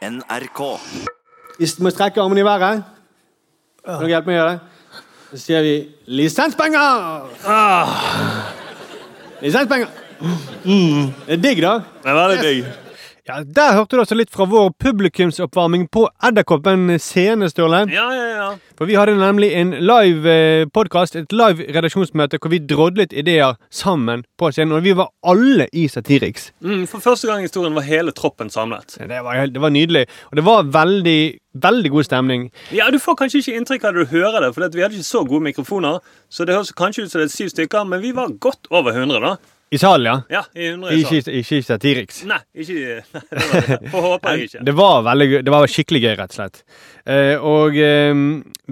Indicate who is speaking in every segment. Speaker 1: NRK.
Speaker 2: Hvis du må strekke armene i været Kan dere hjelpe meg å gjøre det? Så sier vi 'lisenspenger'! Ah. Lisenspenger! Det er digg, da.
Speaker 3: Det er veldig digg.
Speaker 2: Ja, Der hørte du også litt fra vår publikumsoppvarming på Edderkoppen scene, Sturle.
Speaker 3: Ja, ja, ja.
Speaker 2: For vi hadde nemlig en live eh, podkast, et live redaksjonsmøte, hvor vi drodlet ideer sammen på scenen. Og vi var alle i Satiriks.
Speaker 3: Mm, for første gang i historien var hele troppen samlet.
Speaker 2: Det var, helt- det var nydelig. Og det var veldig, veldig god stemning.
Speaker 3: Ja, Du får kanskje ikke inntrykk av det du hører det, for vi hadde ikke så gode mikrofoner. Så det høres kanskje ut som det er syv stykker, men vi var godt over 100, da.
Speaker 2: I salen, ja.
Speaker 3: Ja, i 100 i salen.
Speaker 2: Ikke, ikke i Satiriks.
Speaker 3: Nei, ikke nei, det var det. Får håpe jeg ikke.
Speaker 2: Det var, veldig, gøy- det var skikkelig gøy, rett og slett. Eh, og eh,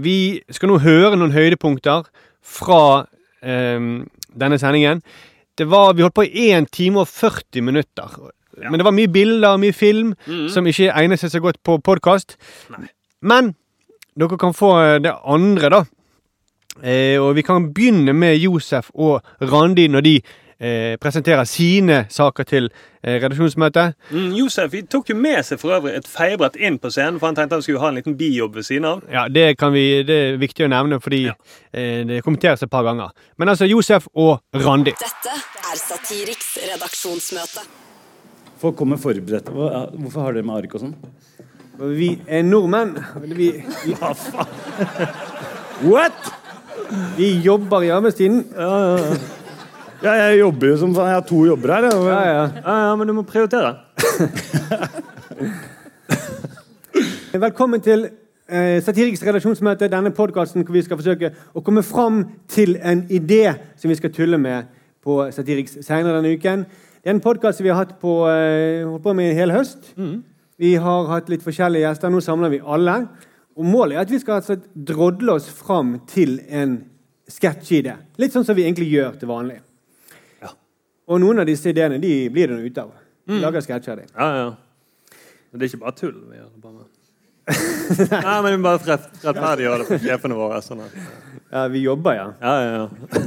Speaker 2: vi skal nå høre noen høydepunkter fra eh, denne sendingen. Det var, vi holdt på i 1 time og 40 minutter.
Speaker 3: Ja. Mhm.
Speaker 2: Men det var mye bilder og mye film som ikke egner seg så godt på podkast.
Speaker 3: Nei.
Speaker 2: Men dere kan få eh, det andre, da. Eh, og vi kan begynne med Josef og Randi når de eh, presenterer sine saker til eh, redaksjonsmøtet.
Speaker 3: Mm, Josef vi tok jo med seg for øvrig et feiebrett inn på scenen, for han tenkte han skulle ha en liten bijobb ved siden av.
Speaker 2: Ja, det, kan vi, det er viktig å nevne, fordi
Speaker 3: Ja.
Speaker 2: eh, det kommenteres et par ganger. Men altså Josef og Randi.
Speaker 4: Dette er Satiriks redaksjommøte.
Speaker 5: Folk kommer forberedt. Hva, ja, hvorfor har dere med ark og sånn?
Speaker 2: Vi er nordmenn. Vi,
Speaker 5: What?!
Speaker 2: jobber i arbeidstiden.
Speaker 5: Ja, jeg jobber jo som faen. Jeg har to jobber her. Jeg.
Speaker 3: Ja, ja, men du må prioritere.
Speaker 2: Velkommen til eh, Satiriks redaksjonsmøte, denne podkasten hvor vi skal forsøke å komme fram til en idé som vi skal tulle med på Satiriks senere denne uken. Det er en podkast vi har hatt på, eh, holdt på med i hele høst. Vi har hatt litt forskjellige gjester. Nå samler vi alle. Og målet er at vi skal altså drodle oss fram til en sketsjide. Litt sånn som vi egentlig gjør til vanlig. Og noen av disse ideene de blir det noe ut av. Vi Lager sketsjer av dem.
Speaker 3: Ja, ja. Men det er ikke bare tull vi gjør det bare med. Nei, men vi bare rett- rettferdiggjør det for sjefene våre. Sånn at,
Speaker 2: Ja, vi jobber, ja.
Speaker 3: ja, ja, ja.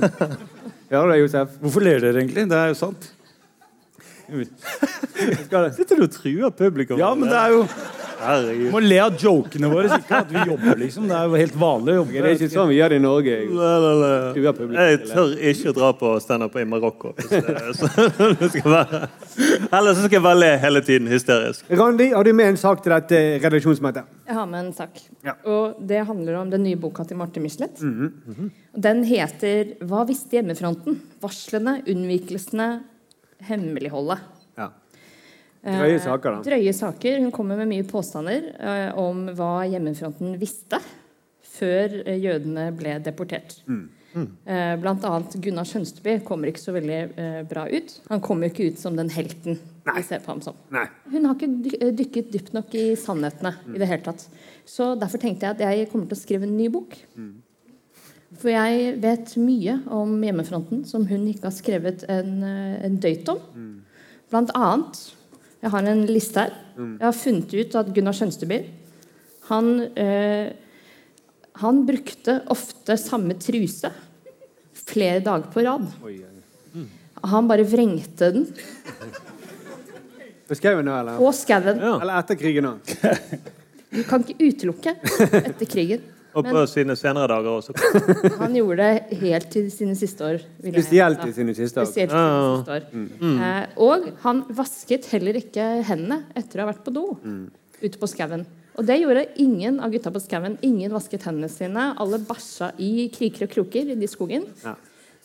Speaker 2: Hører du det, Josef?
Speaker 5: Hvorfor ler dere egentlig? Det er jo sant.
Speaker 2: Skal det?
Speaker 3: Sitter du og truer publikum?
Speaker 5: Ja, men det er jo
Speaker 3: Herregud.
Speaker 5: Må le av jokene våre, så ikke at vi jobber, liksom. Det er jo helt vanlig å jobbe.
Speaker 2: Det er ikke sånn vi gjør det i Norge.
Speaker 3: La, la, la.
Speaker 2: Truer publikum,
Speaker 3: Jeg
Speaker 2: eller?
Speaker 3: tør ikke å dra på standup i Marokko. hvis det er sånn det skal være. Eller så skal jeg bare le hele tiden hysterisk.
Speaker 2: Randi, har du med en sak til dette redaksjonsmøtet?
Speaker 6: Jeg har med en sak.
Speaker 2: Ja.
Speaker 6: Og det handler om den nye boka til Marte Michelet. Og Den heter 'Hva visste hjemmefronten?' Varslene, unnvikelsene, hemmeligholdet.
Speaker 2: Ja. Drøye saker, da.
Speaker 6: Eh, Drøye saker. Hun kommer med mye påstander eh, om hva hjemmefronten visste før eh, jødene ble deportert.
Speaker 2: Mm.
Speaker 6: Eh, blant annet Gunnar Skjønsteby kommer ikke så veldig eh, bra ut. Han kommer jo ikke ut som den helten vi ser på ham som.
Speaker 2: Nei. Mm.
Speaker 6: Hun har ikke dy- eh, dykket dypt nok i sannhetene i det hele tatt. Så derfor tenkte jeg at jeg kommer til å skrive en ny bok.
Speaker 2: Mm.
Speaker 6: For jeg vet mye om hjemmefronten som hun ikke har skrevet en, eh, en døyt om. Blant annet Jeg har en liste her. Jeg har funnet ut at Gunnar Skjønsteby han, eh, han brukte ofte samme truse flere dager på rad. Han bare vrengte den
Speaker 2: På skauen nå, eller?
Speaker 6: på skauen.
Speaker 2: Eller etter krigen nå?
Speaker 6: Du kan ikke utelukke etter krigen.
Speaker 3: Og på sine senere dager også.
Speaker 6: Han gjorde det helt til sine siste år. vil jeg-
Speaker 2: Spesielt
Speaker 6: ja.
Speaker 2: i sine siste år.
Speaker 6: Spesielt til sine siste år. Eh, og han vasket heller ikke hendene etter å ha vært på do
Speaker 2: Mm.
Speaker 6: ute på skauen. Og det gjorde ingen av gutta på skauen. Ingen vasket hendene sine. Alle bæsja i kriker og kroker i de skogen.
Speaker 2: Ja.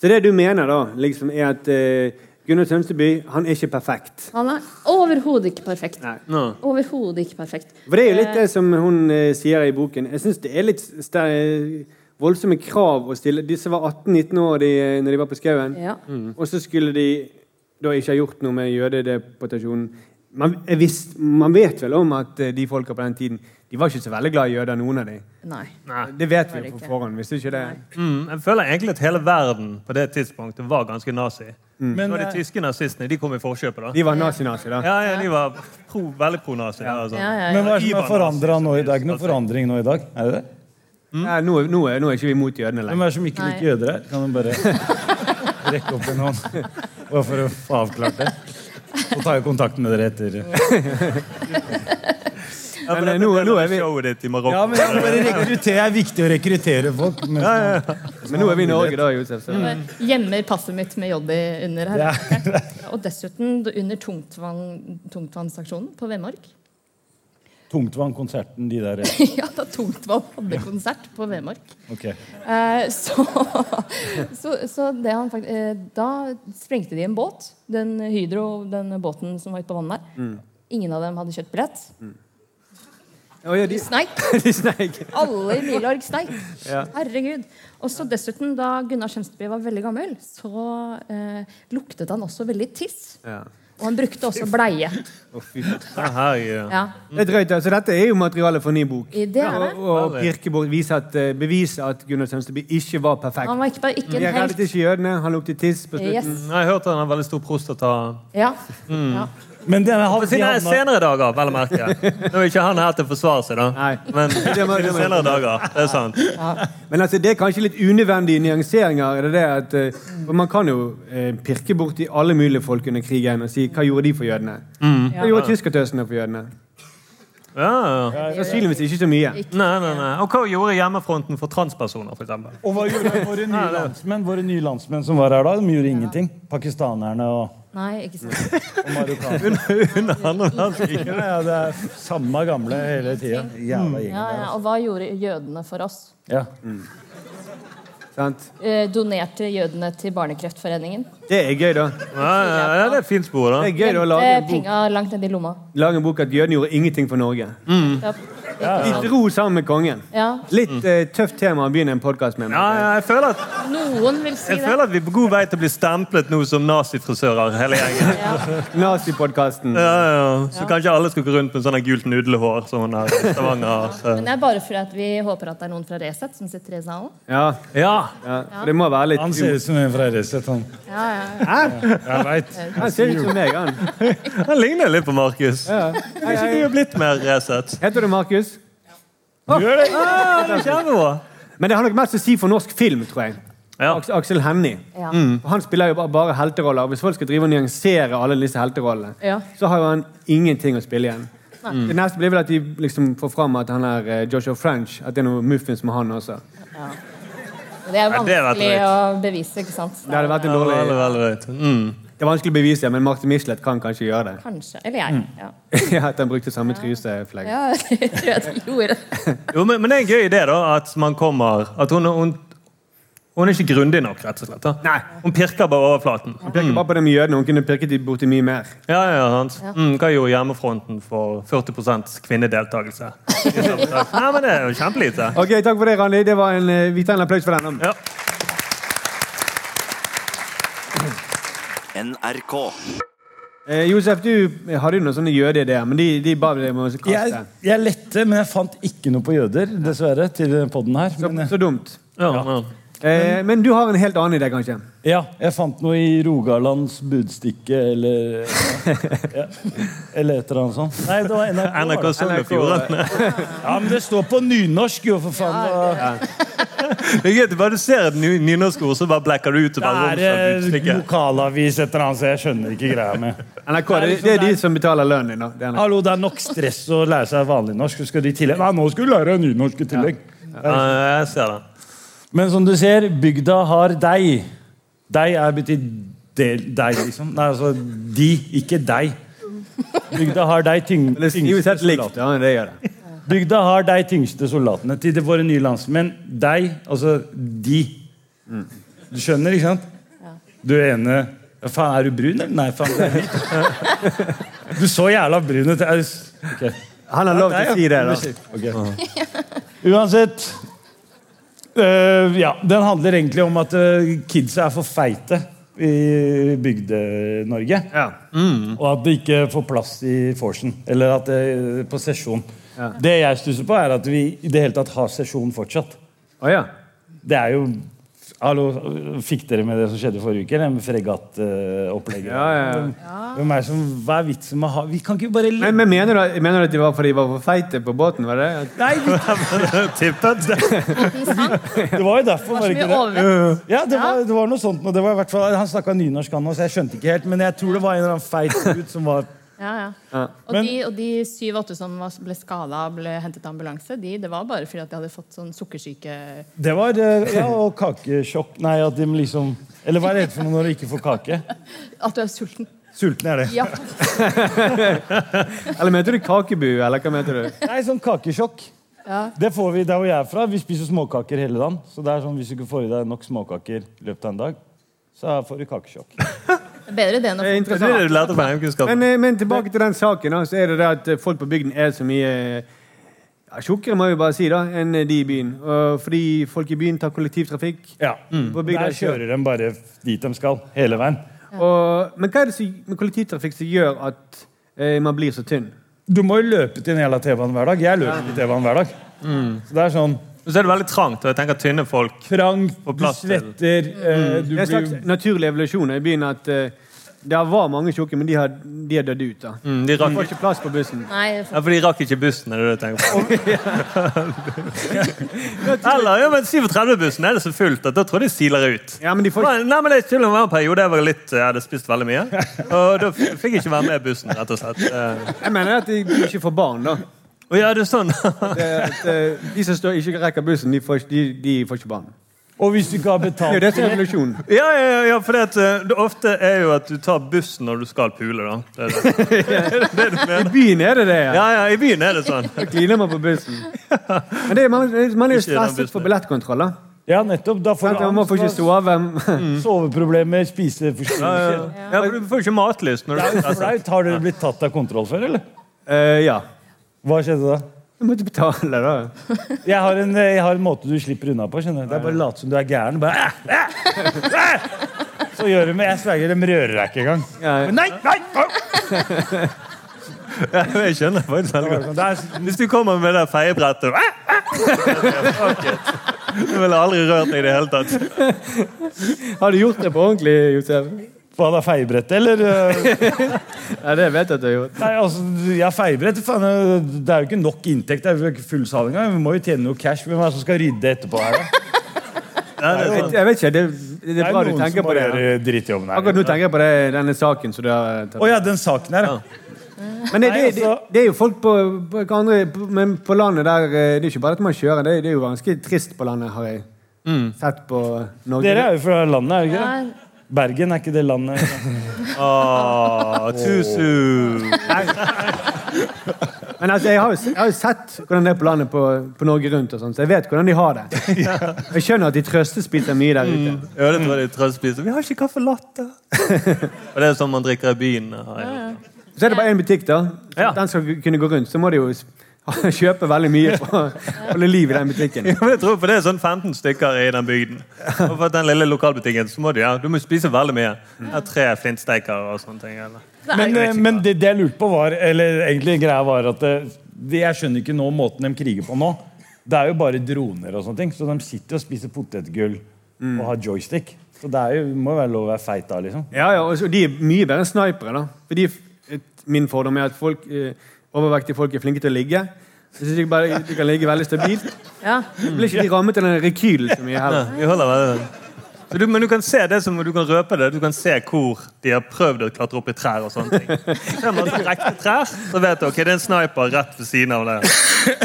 Speaker 2: Så det du mener, da, liksom, er at eh, Gunnar Sønsteby, han er ikke perfekt.
Speaker 6: Han er overhodet ikke perfekt.
Speaker 2: Nei.
Speaker 6: Overhodet ikke perfekt.
Speaker 2: For det er jo litt det som hun eh, sier i boken. Jeg syns det er litt ster- eh, voldsomme krav å stille. De som var 18-19 år de, eh, når de var på skauen,
Speaker 6: Ja.
Speaker 2: og så skulle de da ikke ha gjort noe med jødedeportasjonen. Man, jeg visst- man vet vel om at eh, de folka på den tiden De var ikke så veldig glad i jøder, noen av de.
Speaker 6: Nei.
Speaker 2: Det vet
Speaker 6: var
Speaker 2: vi
Speaker 6: det
Speaker 2: på
Speaker 6: ikke.
Speaker 2: forhånd, hvis ikke det
Speaker 3: Mm, jeg føler egentlig at hele verden på det tidspunktet var ganske nazi.
Speaker 5: Mm.
Speaker 3: Men,
Speaker 6: eh,
Speaker 5: eh,
Speaker 3: de tyske nazistene Mm. de kom i forkjøpet, da.
Speaker 2: De var nazi-nazi, da.
Speaker 3: Ja, ja, de var pro, veldig pro-nazi. Ja. altså.
Speaker 6: Ja, ja, ja.
Speaker 5: Men hva er det som er
Speaker 3: Ivan,
Speaker 5: forandra
Speaker 3: altså.
Speaker 5: nå i dag? Det er ikke noe forandring nå i dag? Er det det?
Speaker 2: Nei, Mm. nå, nå, er, nå er ikke vi mot jødene
Speaker 5: Hvem
Speaker 2: lenger.
Speaker 5: er det som ikke liker jøder her? Kan du bare rekke opp en hånd? Bare for å få avklart det. Så tar jeg kontakt med dere etter
Speaker 1: for
Speaker 2: Men, eh,
Speaker 1: dette
Speaker 2: nå-
Speaker 1: ble
Speaker 2: nå er
Speaker 1: det
Speaker 2: vi-
Speaker 1: showet ditt i Marokko.
Speaker 5: Ja, men jeg må bare rekruttere. Det er viktig å rekruttere folk. Men,
Speaker 2: Men nå er vi i Norge, da, Josef. Så.
Speaker 6: Gjemmer passet mitt med joddi under her. Og dessuten under tungtvann, tungtvannsaksjonen på Vemork.
Speaker 5: Tungtvannkonserten, de der.
Speaker 6: Ja, da Tungtvann hadde konsert på Vemork.
Speaker 5: Ok.
Speaker 6: Eh, så, så, så det han fakt eh, Da sprengte de en båt. Den Hydro, den båten som var ute på vannet der. Ingen av dem hadde kjøpt billett.
Speaker 2: Å, ja, de,
Speaker 6: De sneik.
Speaker 2: de sneik.
Speaker 6: Alle i Milorg sneik.
Speaker 2: Ja.
Speaker 6: Herregud. Og så dessuten, da Gunnar Kjemsteby var veldig gammel, så eh, luktet han også veldig tiss.
Speaker 2: Ja.
Speaker 6: Og han brukte også bleie.
Speaker 2: Å, fy. Det
Speaker 1: Ja, herregud.
Speaker 6: Ja,
Speaker 2: er drøyt, altså. Dette er jo materiale for ny bok.
Speaker 6: i det er det.
Speaker 2: Og, og pirke bort, vise at, eh, bevise at Gunnar Sønsteby ikke var perfekt.
Speaker 6: Han var ikke bare ikke
Speaker 2: De
Speaker 6: en
Speaker 2: reddet
Speaker 6: helt.
Speaker 2: ikke jødene. Han luktet tiss på
Speaker 6: Yes.
Speaker 2: slutten.
Speaker 1: Jeg har hørt han har veldig stor prostata
Speaker 6: Ja. ja.
Speaker 5: Men den har,
Speaker 1: På sine
Speaker 5: de har-
Speaker 1: senere dager, vel å merke. Nå er ikke han her til å forsvare seg, da.
Speaker 2: Nei.
Speaker 1: Men
Speaker 2: Det må- det
Speaker 1: sine
Speaker 2: må-
Speaker 1: senere dager. Det er sant.
Speaker 2: Men altså, det er kanskje litt unødvendige nyanseringer. Er det det at, eh, for man kan jo eh, pirke bort i alle mulige folk under krigen og si hva gjorde de for jødene? Hva gjorde tyskertøsene for jødene?
Speaker 1: Ja, ja.
Speaker 2: Sannsynligvis ikke så mye.
Speaker 1: Nei, nei, nei. Og hva gjorde hjemmefronten for transpersoner, f.eks.?
Speaker 5: Og hva gjorde våre nye landsmenn Våre nye landsmenn som var her da? De gjorde ingenting. Pakistanerne og,
Speaker 6: Nei, ikke sant.
Speaker 5: og marokkanerne.
Speaker 1: Under andre verdenskrig.
Speaker 5: Ja, ja, det er samme gamle hele tida. Jævla gjeng.
Speaker 6: Ja, ja. Og hva gjorde jødene for oss?
Speaker 5: Mm. Ja.
Speaker 2: Sant?
Speaker 6: Eh, donerte jødene til Barnekreftforeningen.
Speaker 2: Det er gøy, da.
Speaker 1: Ja, ja, ja, det er et fint spor,
Speaker 2: Det
Speaker 1: da.
Speaker 2: er gøy da, å lage
Speaker 6: Eh,
Speaker 2: en bok,
Speaker 6: Penga langt ned i lomma.
Speaker 2: lage en bok at jødene gjorde ingenting for Norge.
Speaker 6: Ja.
Speaker 2: De dro sammen med kongen.
Speaker 6: Ja.
Speaker 2: Litt eh, tøft tema å begynne en podkast med.
Speaker 1: Mm.
Speaker 2: men-
Speaker 1: Ja, ja, jeg føler at
Speaker 6: Noen vil si
Speaker 1: Jeg
Speaker 6: det.
Speaker 1: føler at vi er på god vei til å bli stemplet nå som nazifrisører. hele gjengen.
Speaker 2: Nazipodkasten.
Speaker 1: Ja, ja. Så kanskje alle skal gå rundt med sånne gult nudlehår som hun har i Stavanger. Så.
Speaker 6: Men det er bare fordi at vi håper at det er noen fra Resett som sitter i salen.
Speaker 2: Ja,
Speaker 1: Ja,
Speaker 2: ja. For det må være litt
Speaker 5: Han ser ut som en fra Resett, han.
Speaker 6: Ja, ja, ja.
Speaker 5: Jeg vet.
Speaker 2: Han ser ut som meg, han.
Speaker 1: han ligner litt på Markus.
Speaker 2: Ja. Hei,
Speaker 1: Kanskje du
Speaker 2: hei.
Speaker 1: er blitt mer Resett.
Speaker 2: Heter du Markus?
Speaker 1: Gjør det? Ja, det er kjempebra.
Speaker 2: Men det har nok mest å si for norsk film, tror jeg.
Speaker 1: Ja.
Speaker 2: Aks- Aksel Hennie. Mm.
Speaker 6: Ja.
Speaker 2: Og Han spiller jo bare, bare helteroller. og Hvis folk skal drive og nyansere alle disse helterollene,
Speaker 6: Ja.
Speaker 2: så har jo han ingenting å spille igjen. Mm. Det neste blir vel at de liksom får fram at han er eh, Joshua French. At det er noe muffins med han også.
Speaker 6: Og Det er
Speaker 1: Ja, det er
Speaker 6: vanskelig
Speaker 1: rett og
Speaker 6: å bevise, ikke sant?
Speaker 2: Det hadde vært en
Speaker 1: Ja, Veldig,
Speaker 2: dårlig
Speaker 1: veldig rett. Mm.
Speaker 2: Det er vanskelig å bevise, men Martin Michelet kan kanskje gjøre det.
Speaker 6: Kanskje. Eller jeg. Ja.
Speaker 2: at han brukte samme truseflagg.
Speaker 6: ja, det tror jeg at vi gjorde.
Speaker 1: Jo, men, men det er en gøy idé, da, at man kommer At hun, hun, hun er ikke grundig nok, rett og slett. da.
Speaker 2: Nei.
Speaker 1: Hun pirker bare overflaten.
Speaker 2: Han peker bare på det med jødene. Hun kunne pirket de borti mye mer.
Speaker 1: Ja, ja, sant. Mm, hva gjorde hjemmefronten for 40 kvinnedeltakelse? Nei, men det er jo kjempelite.
Speaker 2: Ok, Takk for det, Randi. Det var en, eh, Vi tar en applaus for den.
Speaker 1: Ja.
Speaker 7: NRK.
Speaker 2: Eh, Josef, du hadde jo noen sånne jødeideer, men de, de ba deg om å kaste.
Speaker 5: Jeg, jeg lette, men jeg fant ikke noe på jøder, dessverre, til podden her.
Speaker 2: Så,
Speaker 5: Men eh, jeg,
Speaker 2: så dumt.
Speaker 1: Ja, ja.
Speaker 2: Eh, men du har en helt annen idé, kanskje?
Speaker 5: ja, jeg fant noe i Rogalands Budstikke eller ja, Eller et eller annet sånt. Nei, det var NRK. var
Speaker 1: NRK
Speaker 5: det.
Speaker 1: Sogn og Fjordane.
Speaker 5: Ja, men det står på nynorsk, jo, for faen.
Speaker 1: Det er gøy at du bare ser et ny- nynorskord, så bare blekker du ut. og bare
Speaker 5: Det er
Speaker 1: romsdal
Speaker 5: eh,
Speaker 1: utstykke.
Speaker 5: lokalavis et eller annet, så jeg skjønner ikke greia med
Speaker 2: NRK, det, det er de som betaler lønnen din. da. Det er NRK.
Speaker 5: Hallo, det er nok stress å lære seg vanlig norsk. så Skal du i tillegg? Nei, nå skal du lære deg nynorsk i tillegg.
Speaker 1: Ja, jeg ser det.
Speaker 5: Men som du ser, bygda har deg. Deg er betyr del, deg, liksom. Nei, altså de, ikke deg. Bygda har deg tyng,
Speaker 2: Men det skrives
Speaker 5: tyngste
Speaker 2: helt Ah, likt.
Speaker 5: soldatene.
Speaker 2: Ja, det gjør det.
Speaker 5: Bygda har deg tyngste soldatene til de- våre nye landsmenn. Deg, altså de. Du skjønner, ikke sant? Du ene ja, Faen, er du brun, eller? Nei, faen, du er hvit. Du så jævla brun ut. Jeg- ok.
Speaker 2: Han har lov til å si det. da.
Speaker 5: Uansett eh, Ja, den handler egentlig om at eh, kidsa er for feite i Bygde-Norge.
Speaker 2: Ja.
Speaker 5: Og at de ikke får plass i vorsen. Eller at det, på sesjon. Det jeg stusser på, er at vi i det hele tatt har sesjon fortsatt.
Speaker 2: Å, ja.
Speaker 5: Det er jo Hallo, Fikk dere med det som skjedde forrige uke? Det med fregattopplegget?
Speaker 2: Ja, ja, ja.
Speaker 5: Hvem er det som, hva er vitsen med å ha Vi kan ikke bare
Speaker 2: Men, men mener, du, mener du at de var fordi de var for feite på båten? var det? At-
Speaker 5: Nei, vi,
Speaker 1: Tippet.
Speaker 5: det var jo derfor.
Speaker 6: Så
Speaker 5: Var
Speaker 6: mye
Speaker 5: det ikke det?
Speaker 6: overvekt.
Speaker 5: Ja, det var, det var noe sånt. nå. Det var i hvert fall, han snakka nynorsk, han også. Jeg skjønte ikke helt, men jeg tror det var en eller annen feit gutt som var
Speaker 7: Ja, ja.
Speaker 2: Ja.
Speaker 7: Og, de, og de syv-åtte som var, ble skada og ble hentet av ambulanse, de, det var bare fordi at de hadde fått sånn sukkersyke
Speaker 5: Det var eh, Ja, og kakesjokk. Nei, at de liksom Eller hva er det heter for noe når du ikke får kake?
Speaker 7: At du er sulten.
Speaker 5: Sulten er det.
Speaker 7: Ja.
Speaker 2: Eller mente du kakebu, eller hva mente du?
Speaker 5: Nei, sånn kakesjokk. Det får vi der hvor jeg er fra. Vi spiser småkaker hele dagen. Så det er sånn, hvis du ikke får i deg nok småkaker i løpet av en dag, så får du kakesjokk.
Speaker 7: Bedre det enn å
Speaker 1: Det er
Speaker 2: Det er
Speaker 1: det
Speaker 2: interessant.
Speaker 1: du lærte på hjemkunnskapen.
Speaker 2: Men, eh, men tilbake til den saken, da, så er det det at eh, folk på bygden er så mye eh, ja, tjukkere, må vi bare si, da, enn eh, de i byen. Og fordi folk i byen tar kollektivtrafikk.
Speaker 5: Ja.
Speaker 2: På bygda
Speaker 5: Der kjører de bare dit de skal, hele veien.
Speaker 2: Og, men hva er det som, med kollektivtrafikk som gjør at eh, man blir så tynn?
Speaker 5: Du må jo løpe til den jævla TV-en hver dag. Jeg løper til TV-en hver dag.
Speaker 1: Mm.
Speaker 5: Så det er sånn
Speaker 1: Så er det veldig trangt, og jeg tenker tynne folk
Speaker 5: trangt,
Speaker 1: På
Speaker 5: du
Speaker 1: plass til. Mm.
Speaker 5: svetter eh, du
Speaker 2: Det er en slags
Speaker 5: blir,
Speaker 2: naturlig evolusjon i byen at eh, der var mange tjukke, men de har, de har dødd ut. da.
Speaker 1: mm, de
Speaker 2: De
Speaker 1: rakk,
Speaker 2: får ikke plass på bussen.
Speaker 7: Nei, for-
Speaker 1: ja, For de rakk ikke bussen, er det det du tenker på? Eller ja, men 37-bussen er det så fullt at da tror jeg de siler ut.
Speaker 2: Ja, men de får ikke...
Speaker 1: Nei, men det er til og med en periode jeg var litt, jeg hadde spist veldig mye. Og da f- fikk jeg ikke være med i bussen, rett og slett. Eh,
Speaker 2: Jeg mener at de de ikke får barn, da.
Speaker 1: Og ja, det er sånn.
Speaker 2: Det, er at, eh, de som står, ikke rekker bussen, de får, ikke- de, de får ikke barn.
Speaker 5: og hvis du ikke har
Speaker 2: Det er
Speaker 5: betalt
Speaker 2: jo det som er evolusjon.
Speaker 1: Ja, ja, ja, ja for det, at, eh, det ofte er jo at du tar bussen når du skal pule, da. Det er det.
Speaker 2: I byen er det det. ja.
Speaker 1: Ja, ja, i byen er det sånn.
Speaker 2: Da kliner man på bussen. Men det, er- man, man er jo
Speaker 1: Ikke gjennom
Speaker 2: stresset for
Speaker 1: bussen.
Speaker 2: billettkontroller.
Speaker 5: Ja, nettopp. Da får
Speaker 2: Sant?
Speaker 5: du
Speaker 2: Man må få ikke
Speaker 5: angst, da.
Speaker 2: sove.
Speaker 5: soveproblemer, spiseforstyrrelser.
Speaker 1: Mm. Ja, for Du får ikke matlyst når
Speaker 5: Det
Speaker 1: du
Speaker 5: er jo flaut. Har dere blitt tatt av kontroll før, eller?
Speaker 2: Eh, ja.
Speaker 5: Hva skjedde da?
Speaker 2: Du måtte betale, da.
Speaker 5: Jeg har en, jeg har en måte du slipper unna på. skjønner du? Det er bare å late som du er gæren. Bare, æ, æ, æ. Så gjør de det. Jeg sverger, de rører deg ikke engang.
Speaker 2: Ja.
Speaker 5: Nei, nei, au!
Speaker 1: Ja, Jeg skjønner faktisk veldig godt.
Speaker 5: Det er,
Speaker 1: Hvis du kommer med det feiebrettet og, ah, ah, ok. Du ville aldri rørt deg i det hele tatt.
Speaker 2: Har du gjort det på ordentlig, Josef?
Speaker 5: hva da, feiebrett, eller? eh,
Speaker 2: Ja, det vet jeg at du har gjort.
Speaker 5: Nei, altså, ja, feiebrett, faen, eh, det er jo ikke nok inntekt. Det er jo ikke full sal engang. Vi må jo tjene noe cash. Hvem er det som skal rydde etterpå her, da?
Speaker 1: Ja, det er
Speaker 2: Jeg,
Speaker 1: sånn.
Speaker 2: jeg vet ikke, det, det er bra du
Speaker 5: noen
Speaker 2: tenker
Speaker 5: som
Speaker 2: på
Speaker 5: må
Speaker 2: det. da.
Speaker 5: gjøre drittjobben her.
Speaker 2: Akkurat nå tenker jeg på det, denne saken som du har tatt
Speaker 5: Å ja, den saken her, ja.
Speaker 2: Men det,
Speaker 5: Nei,
Speaker 2: det, det,
Speaker 5: altså-
Speaker 2: det er jo folk på, på, ikke andre, på, men på landet der eh, Det er ikke bare at man kjører, det, det er jo ganske trist på landet, har jeg sett på
Speaker 5: Mm.
Speaker 2: Norge.
Speaker 5: Dere er jo fra landet, er dere ikke det?
Speaker 7: ja,
Speaker 5: Bergen er ikke det landet
Speaker 1: Ah, too soon.
Speaker 2: Men altså, jeg har, jo, jeg har jo sett hvordan det er på landet på, på Norge Rundt, og sånn, så jeg vet hvordan de har det. Jeg skjønner at de trøstespiser mye der ute.
Speaker 1: Ja, det tror jeg de trøstspiser. Vi har ikke kaffe latte. Og det er sånn man drikker i byen. har jeg hørt.
Speaker 2: Så er det bare én butikk, da. Så
Speaker 1: Ja.
Speaker 2: Den skal kunne gå rundt. Så må de jo s- kjøpe veldig mye for å holde liv i den butikken.
Speaker 1: Ja, men jeg tror for Det er sånn 15 stykker i den bygden. Og for den lille lokalbutikken så må du, ja, du må spise veldig mye. Ja, tre flintsteker og sånne ting. Eller.
Speaker 5: Men, eh, men det, det jeg lurte på var Eller egentlig greia var at eh, det, Jeg skjønner ikke nå måten de kriger på nå. Det er jo bare droner og sånne ting. Så de sitter og spiser potetgull og har joystick. Så det er jo, må jo være lov å være feit da, liksom.
Speaker 2: Ja, ja, og så- de er mye bedre enn snipere, da. Fordi et, min fordom er at folk, eh, overvektige folk er flinke til å ligge. Så synes jeg bare de kan ligge veldig stabilt.
Speaker 7: ja.
Speaker 2: Så blir ikke de rammet av den rekylen så mye
Speaker 1: Ja,
Speaker 2: heller.
Speaker 1: vi holder veldig den. så du, men du kan se det som, du kan røpe det. Du kan se hvor de har prøvd å klatre opp i trær. og sånne ting. Ser man direkte trær, så vet du ok, det er en sniper rett ved siden av det.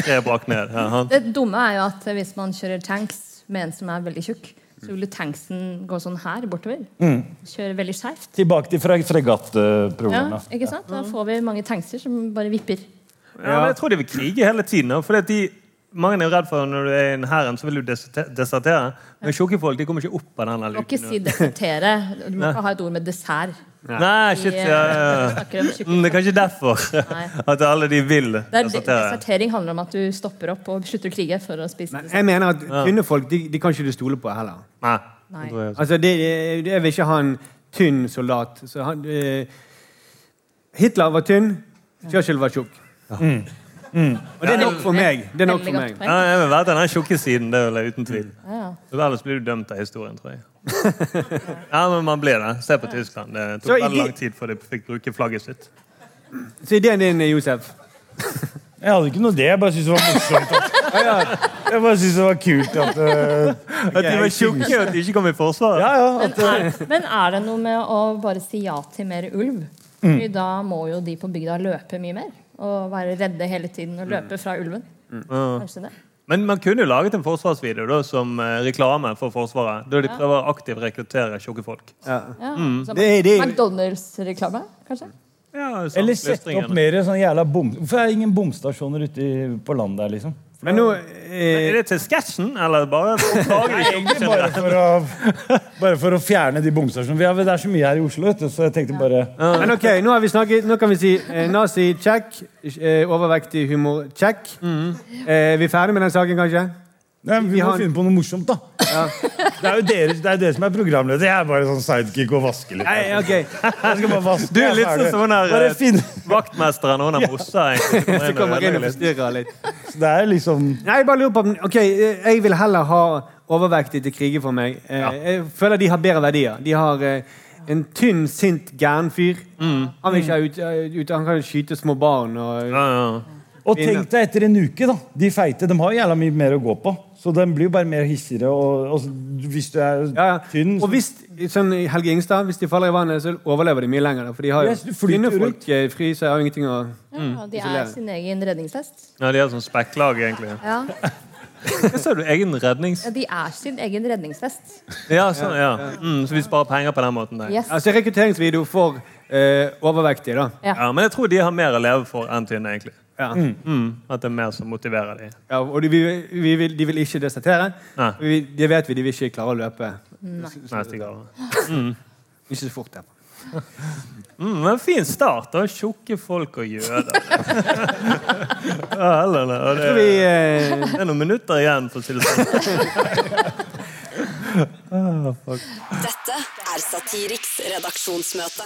Speaker 1: Tre brakk ned. Ja, han.
Speaker 7: Det dumme er jo at hvis man kjører tanks med en som er veldig tjukk, så vil jo tanksen gå sånn her bortover. Kjøre veldig skeivt.
Speaker 5: Tilbake til freg
Speaker 7: Ja,
Speaker 5: fregattprogrammet.
Speaker 7: ikke sant? Da får vi mange tankser som bare vipper.
Speaker 1: Ja, men jeg tror de vil krige hele tiden. da, Fordi at de, mange er jo redd for når du er i en hæren, så vil du deserte- desertere. Men tjukke folk de kommer ikke opp av den
Speaker 7: Du må ikke
Speaker 1: luken.
Speaker 7: si desertere. Du må ikke ha et ord med dessert.
Speaker 1: Nei, shit, ja, ja,
Speaker 7: Vi, eh,
Speaker 1: ja.
Speaker 7: snakker om tjukke
Speaker 1: Mm, Det er kanskje derfor
Speaker 7: Nei.
Speaker 1: at alle de vil
Speaker 7: Der, de-
Speaker 1: desertere.
Speaker 7: desertering handler om at du stopper opp og slutter å krige for å spise
Speaker 2: Men
Speaker 7: dessert.
Speaker 2: jeg mener at tynne folk de, de kan ikke du stole på heller.
Speaker 1: Nei.
Speaker 7: Nei.
Speaker 1: det tror jeg også.
Speaker 2: Altså, det, det- Jeg vil ikke ha en tynn soldat. Så han, eh, Hitler var tynn, Churchill var tjukk. Og det er nok for meg. Det er nok for
Speaker 7: Veldig godt
Speaker 1: Ja,
Speaker 2: meg.
Speaker 7: poeng.
Speaker 1: jeg vil være til den tjukke siden, det vil jeg uten tvil.
Speaker 7: Ja, ja.
Speaker 1: Så Ellers blir du dømt av historien, tror jeg. Ja, men man blir det. Se på Tyskland. Det
Speaker 2: Så
Speaker 1: tok
Speaker 2: i de-
Speaker 1: veldig lang tid før de fikk bruke flagget sitt.
Speaker 2: Så ideen din, Josef
Speaker 5: Jeg hadde ikke noe det, jeg bare syntes det var morsomt. At, jeg bare syntes det var kult at eh,
Speaker 1: At de var tjukke, og at de ikke kom i forsvaret.
Speaker 5: Ja, ja. At,
Speaker 7: Men er det noe med å bare si ja til mer ulv? Fordi da må jo de på bygda løpe mye mer. Og være redde hele tiden og løpe fra ulven. Kanskje det.
Speaker 1: Men man kunne jo laget en forsvarsvideo da, som eh, reklame for Forsvaret. Da de prøver å aktivt rekruttere tjukke folk.
Speaker 7: Ja, så
Speaker 2: Det- det-
Speaker 7: McDonald's-reklame, kanskje?
Speaker 1: Ja, sant,
Speaker 5: Eller sette opp
Speaker 1: løsningene.
Speaker 5: mer sånn jævla bom... Hvorfor er det ingen bomstasjoner ute i- på landet her, liksom?
Speaker 2: Men nå
Speaker 1: Er
Speaker 2: eh,
Speaker 1: det til sketsjen, eller bare oppdager de ikke
Speaker 5: Egentlig bare for å, bare for å fjerne de bomstasjonene. Vi har, det er så mye her i Oslo, vet du, så jeg tenkte bare
Speaker 2: Men ok, nå har vi snakket Nå kan vi si eh, nazi check, eh, overvektig humor check. Eh, er vi ferdig med den saken, kanskje?
Speaker 5: Nei, men
Speaker 2: Vi
Speaker 5: Vi må
Speaker 2: har-
Speaker 5: finne på noe morsomt, da. Det er jo dere, det er dere som er programleder. Jeg er bare sånn sidekick og vasker litt.
Speaker 2: Nei, ok.
Speaker 5: Jeg skal bare vaske.
Speaker 1: Du er litt
Speaker 5: jeg ferdig.
Speaker 1: sånn som den der,
Speaker 5: Bare
Speaker 1: eh,
Speaker 5: finne-
Speaker 1: Vaktmesteren og den mossa. egentlig, som
Speaker 2: Så kommer jeg inn
Speaker 1: ødelegger
Speaker 2: og
Speaker 1: litt.
Speaker 2: forstyrrer litt.
Speaker 5: Det er liksom
Speaker 2: Nei, jeg bare lurer på om- Ok, eh, jeg vil heller ha overvektige til kriger for meg. Eh, Jeg føler de har bedre verdier. De har eh, en tynn, sint gæren fyr.
Speaker 5: Mm.
Speaker 2: Han, vil ikke ha ut, eh, ut, han kan skyte små barn og
Speaker 1: Ja, ja.
Speaker 5: Og tenk deg etter en uke, da. De feite de har jo jævla mye mer å gå på. Så de blir jo bare mer hissigere. Og, og hvis du er
Speaker 2: ja, ja.
Speaker 5: tynn
Speaker 2: Og hvis sånn Helge Ingstad, hvis de faller i vannet, så overlever de mye lenger. da, For de har jo
Speaker 5: Yes, du flyter
Speaker 2: tynne
Speaker 5: jo
Speaker 2: folk eh, fryser, har jo ingenting å
Speaker 7: Ja, de er
Speaker 2: Isolere.
Speaker 7: sin egen redningshest.
Speaker 1: Ja, de er sånn spekklag, egentlig.
Speaker 7: Ja,
Speaker 1: Hva sa du? Egen rednings...
Speaker 7: ja, de er sin egen redningshest.
Speaker 1: Ja, sånn, ja. Mm, så vi sparer penger på den måten? Der.
Speaker 7: Yes.
Speaker 2: Altså rekrutteringsvideo for eh, overvektige, da.
Speaker 1: Ja, Men jeg tror de har mer å leve for enn tynne, egentlig.
Speaker 2: Ja.
Speaker 1: Mm, at det er mer som motiverer de.
Speaker 2: Ja, og de, vi, vi vil, de vil ikke desertere.
Speaker 1: Nei.
Speaker 2: Vi, det vet vi, de vil ikke klare å løpe.
Speaker 1: Neste gang.
Speaker 2: Ikke så fort. Ja.
Speaker 5: Eh.
Speaker 1: Mm, men fin start, da. Tjukke folk og jøder. ja, eller, eller, og
Speaker 2: Så
Speaker 1: det,
Speaker 2: vi... Eh,
Speaker 1: det er noen minutter igjen, for å si det sånn.
Speaker 4: Dette er Satiriks redaksjonsmøte.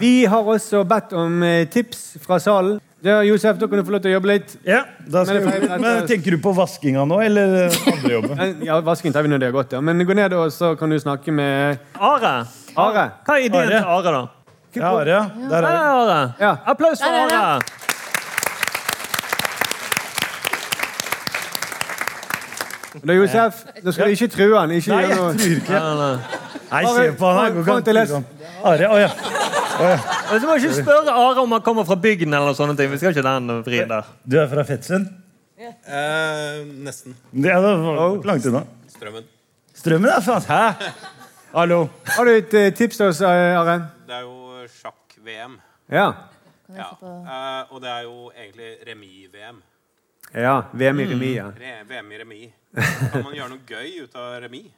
Speaker 2: Vi har også bedt om eh, tips fra salen. Da, Josef, da kan du få lov til å jobbe litt.
Speaker 5: Ja, da skal
Speaker 2: Men det er
Speaker 5: vi-
Speaker 2: feil-
Speaker 5: Men Tenker du på vaskinga nå, eller andre jobben?
Speaker 2: Eh, Ja, Vasken tar vi når det er godt, ja. Men gå ned, og så kan du snakke med
Speaker 1: Are.
Speaker 2: Are.
Speaker 1: Hva er ideen til Are, da?
Speaker 5: Ja, Are, ja. Der
Speaker 1: Her
Speaker 5: er
Speaker 1: er Are.
Speaker 2: Ja.
Speaker 1: Applaus for
Speaker 7: Der er
Speaker 1: Are.
Speaker 2: Da, Josef, da skal du ikke true han. Ikke
Speaker 5: Nei, jeg
Speaker 2: gjøre noe.
Speaker 5: tror ikke
Speaker 1: Nei, nei.
Speaker 5: Nei, se på han. her,
Speaker 2: Kom- kom til
Speaker 5: går ikke an. Are, å ja.
Speaker 1: Og så må jeg ikke spørre Are om han kommer fra bygden eller sånne ting. Vi skal ikke den vrien der.
Speaker 5: Du er fra Fetsund?
Speaker 8: Eh, nesten.
Speaker 5: Ja, det var langt unna.
Speaker 8: Strømmen.
Speaker 5: Strømmen er faen Hæ? Hallo.
Speaker 2: Har du et eh, tips til oss, eh, Are?
Speaker 8: Det er jo sjakk-VM.
Speaker 2: Ja.
Speaker 8: Ja. Eh, og det er jo egentlig remis-VM.
Speaker 2: Ja, VM i remis, ja.
Speaker 8: Re VM i remis. Kan man gjøre noe gøy ut av remis?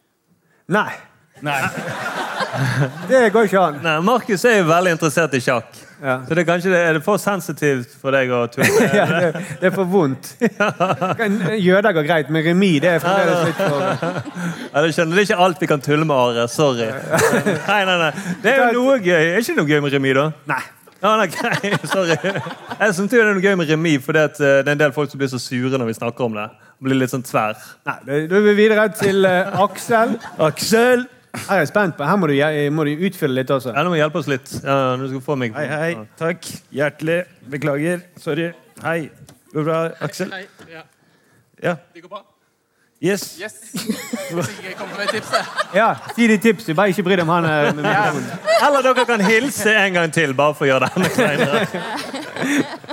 Speaker 2: Nei,
Speaker 5: Nei.
Speaker 2: det går ikke an.
Speaker 1: Nei, Markus er jo veldig interessert i sjakk.
Speaker 2: Ja.
Speaker 1: Så det er kanskje det, er det for sensitivt for deg å tulle med?
Speaker 2: Ja, det, det er for vondt. Kan- Jøder går greit, men remis det er fremdeles litt for
Speaker 1: Ja, det skjønner det er ikke alt vi kan tulle med, Are. Sorry. Nei, nei, nei. Det er jo noe gøy. Er ikke noe gøy med remis, da?
Speaker 2: Nei.
Speaker 1: Ja, nei, grei. Sorry. Jeg syns det er noe gøy med remis, for eh, det er en del folk som blir så sure når vi snakker om det. Blir litt sånn tverr.
Speaker 2: Nei, da- Da er vi videre til eh, Aksel.
Speaker 5: Aksel.
Speaker 2: Her er jeg spent på. Her må du, eh, må du utfylle litt også.
Speaker 1: Ja, du må hjelpe oss litt. Ja, du skal få meg.
Speaker 5: Hei, hei. Takk. Hjertelig. Beklager. Sorry. Hei. Går det bra, Aksel?
Speaker 9: Hei, ja.
Speaker 5: Ja.
Speaker 9: Det går bra?
Speaker 5: Yes.
Speaker 9: Yes. Jeg kommer med et tips. jeg.
Speaker 2: Ja, si de tips. du Bare ikke bry deg om han eh, med mikrofonen.
Speaker 1: Eller dere kan hilse en gang til, bare for å gjøre det enda kleinere.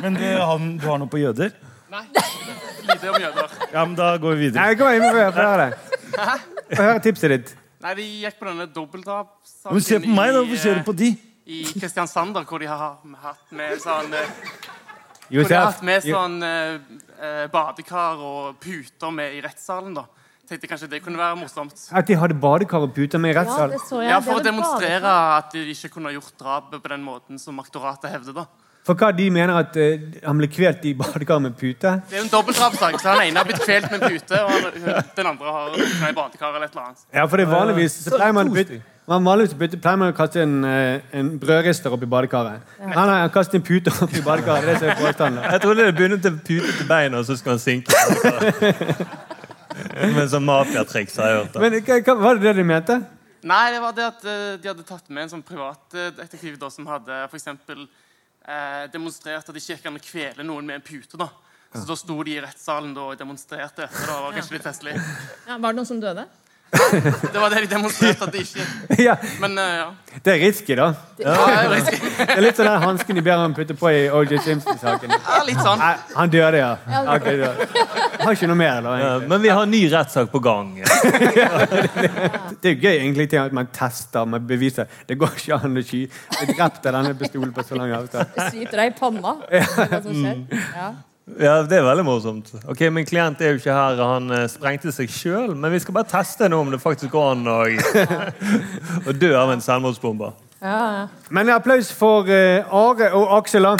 Speaker 5: Men du, han, du har noe på jøder?
Speaker 9: Nei. Lite om jøder.
Speaker 5: Ja, men da går vi
Speaker 2: Nei,
Speaker 5: videre.
Speaker 2: kom igjen, vi får høre det. Få høre tipset ditt.
Speaker 9: Nei, vi gikk på denne dobbeltdrapssaken
Speaker 5: Men se på meg, da.
Speaker 9: i,
Speaker 5: Hvorfor ser du på de?
Speaker 9: eh, I Kristiansand, da, hvor de har hatt med sånn eh, Hvor de har
Speaker 2: Josef.
Speaker 9: hatt med sånn eh, eh, badekar og puter med i rettssalen, da. Tenkte kanskje det kunne være morsomt.
Speaker 2: At de hadde badekar og puter med i
Speaker 7: Ja,
Speaker 2: rettssalen.
Speaker 7: det så jeg.
Speaker 9: Ja,
Speaker 7: Det
Speaker 9: For å
Speaker 7: er vel
Speaker 9: demonstrere
Speaker 7: badekar.
Speaker 9: at de ikke kunne ha gjort drapet på den måten som aktoratet hevder, da.
Speaker 2: For hva de mener at eh, han ble kvelt i badekar med pute?
Speaker 9: Det er jo en dobbeltdrapssak, så han ene har blitt kvelt med en pute, og han- den andre har drukna i badekar eller et eller annet.
Speaker 2: Ja, for det er vanligvis så pleier man å putte man vanligvis putte- pleier man å kaste en, eh, en brødrister oppi badekaret. Han har kastet en pute oppi badekaret. Det er det som er påstanden. da.
Speaker 1: Jeg trodde det begynte til pute til beina, og så skal han sinke. Men sånn mafiatriks har jeg hørt. da.
Speaker 2: Men hva, hva var det det de mente?
Speaker 9: Nei, det var det at eh, de hadde tatt med en sånn privatdetektiv da, som hadde for eksempel, eh, demonstrert at det ikke gikk an å kvele noen med en pute. da. Så da sto de i rettssalen da, og demonstrerte. etter, da, Det var kanskje litt festlig.
Speaker 7: Ja, var det noen som døde?
Speaker 9: Det var det de demonstrerte at de ikke
Speaker 2: ja,
Speaker 9: Men eh, ja.
Speaker 2: det er risky, da.
Speaker 9: ja. det er litt,
Speaker 2: Det er litt sånn den hansken de ber ham putte på i O.J. Simpson-saken.
Speaker 9: ja, litt sånn.
Speaker 2: Nei, Han døde, ja. Ok, da. Har ikke noe mer, da. egentlig.
Speaker 1: Eh, Men vi har en ny rettssak på gang.
Speaker 2: Det er jo gøy egentlig til at man tester med beviser. Det går ikke an å sky. Jeg drepte denne pistolen på så lang avstand.
Speaker 7: Det syter deg i panna. Det er hva som skjer. Ja.
Speaker 1: Ja, Det er veldig morsomt. Ok, Min klient er jo ikke her. og Han eh, sprengte seg sjøl. Men vi skal bare teste nå om det faktisk går an å å dø av en selvmordsbomber.
Speaker 7: Ja, ja.
Speaker 2: Men en applaus for eh, Are og Aksel. da.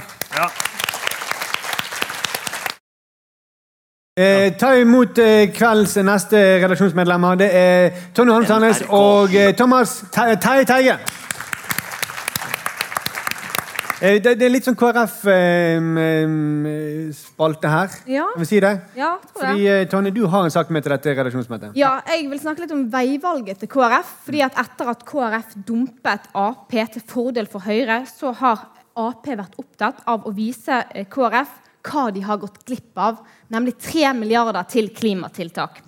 Speaker 2: Eh, ta imot eh, kveldens neste redaksjonsmedlemmer. Det er Tonje Holm Sandnes og eh, Thomas Te- Terje Teige. Eh, det, det er litt sånn KrF-spalte her.
Speaker 10: Ja.
Speaker 2: Kan vi si det?
Speaker 10: Ja, tror
Speaker 2: Fordi,
Speaker 10: jeg.
Speaker 2: eh, Tonje, du har en sak med til dette redaksjonsmøtet.
Speaker 10: Ja, jeg vil snakke litt om veivalget til KrF. fordi at Etter at KrF dumpet Ap til fordel for Høyre, så har Ap vært opptatt av å vise eh, KrF hva de har gått glipp av, nemlig 3 milliarder til klimatiltak.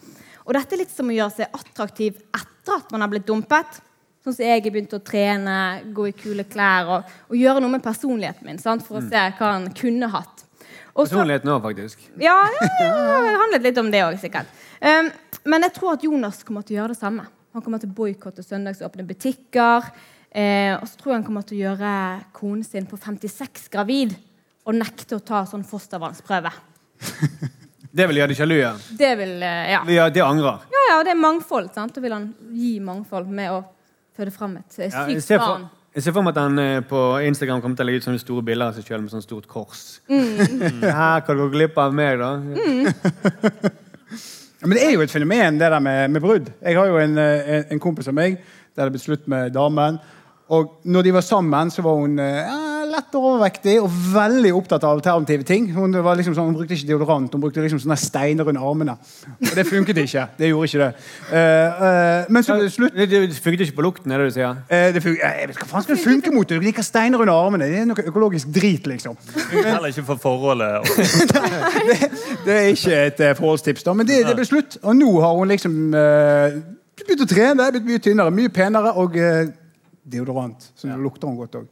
Speaker 10: Og dette er litt som å gjøre seg attraktiv etter at man har blitt dumpet. Sånn som jeg begynte å trene, gå i kule klær og, og gjøre noe med personligheten min. Sant? For å se hva han kunne hatt. Og så-
Speaker 2: Personligheten òg, faktisk.
Speaker 10: ja, ja, ja, det handlet litt om det òg, sikkert. Um, men jeg tror at Jonas kommer til å gjøre det samme. Han kommer til å boikotte søndagsåpne butikker. Eh, og så tror jeg han kommer til å gjøre konen sin på 56 gravid og nekte å ta sånn fostervannsprøve.
Speaker 2: Det vil gjøre deg sjalu, ja.
Speaker 10: Det vil, eh, ja.
Speaker 2: Det vil gjøre at de angrer.
Speaker 10: ja, ja, og det er mangfold. sant? Da vil han gi mangfold med å føde fram et eh,
Speaker 2: Ja, jeg,
Speaker 10: sykt
Speaker 2: ser for,
Speaker 10: barn.
Speaker 2: jeg ser for meg at han eh, på Instagram kommer til å legge ut sånne store bilder av seg sjøl med sånn stort kors. Her kan du gå glipp av meg, da.
Speaker 11: Ja, Men det er jo et fenomen, det der med, med brudd. Jeg har jo en, eh, en, en kompis av meg der det ble slutt med damen. Og når de var sammen, så var hun eh, ja, lett overvektig og veldig opptatt av alternative ting. Hun, var liksom sånn, hun brukte ikke deodorant, hun brukte liksom sånne steiner under armene. Og det funket ikke. Det gjorde ikke det. Eh, eh, men så ble det slutt.
Speaker 2: Det, det funket ikke på lukten, er det du sier?
Speaker 11: Eh, det fun- ja, jeg vet ikke hva faen skal det funke mot? Du knikker steiner under armene. Det er noe økologisk drit, liksom.
Speaker 1: Heller ikke for forholdet.
Speaker 11: Det er ikke et eh, forholdstips, da, men det, det ble slutt. Og nå har hun liksom eh, begynt å trene, blitt mye tynnere, mye penere og eh, deodorant. Så nå lukter hun godt òg.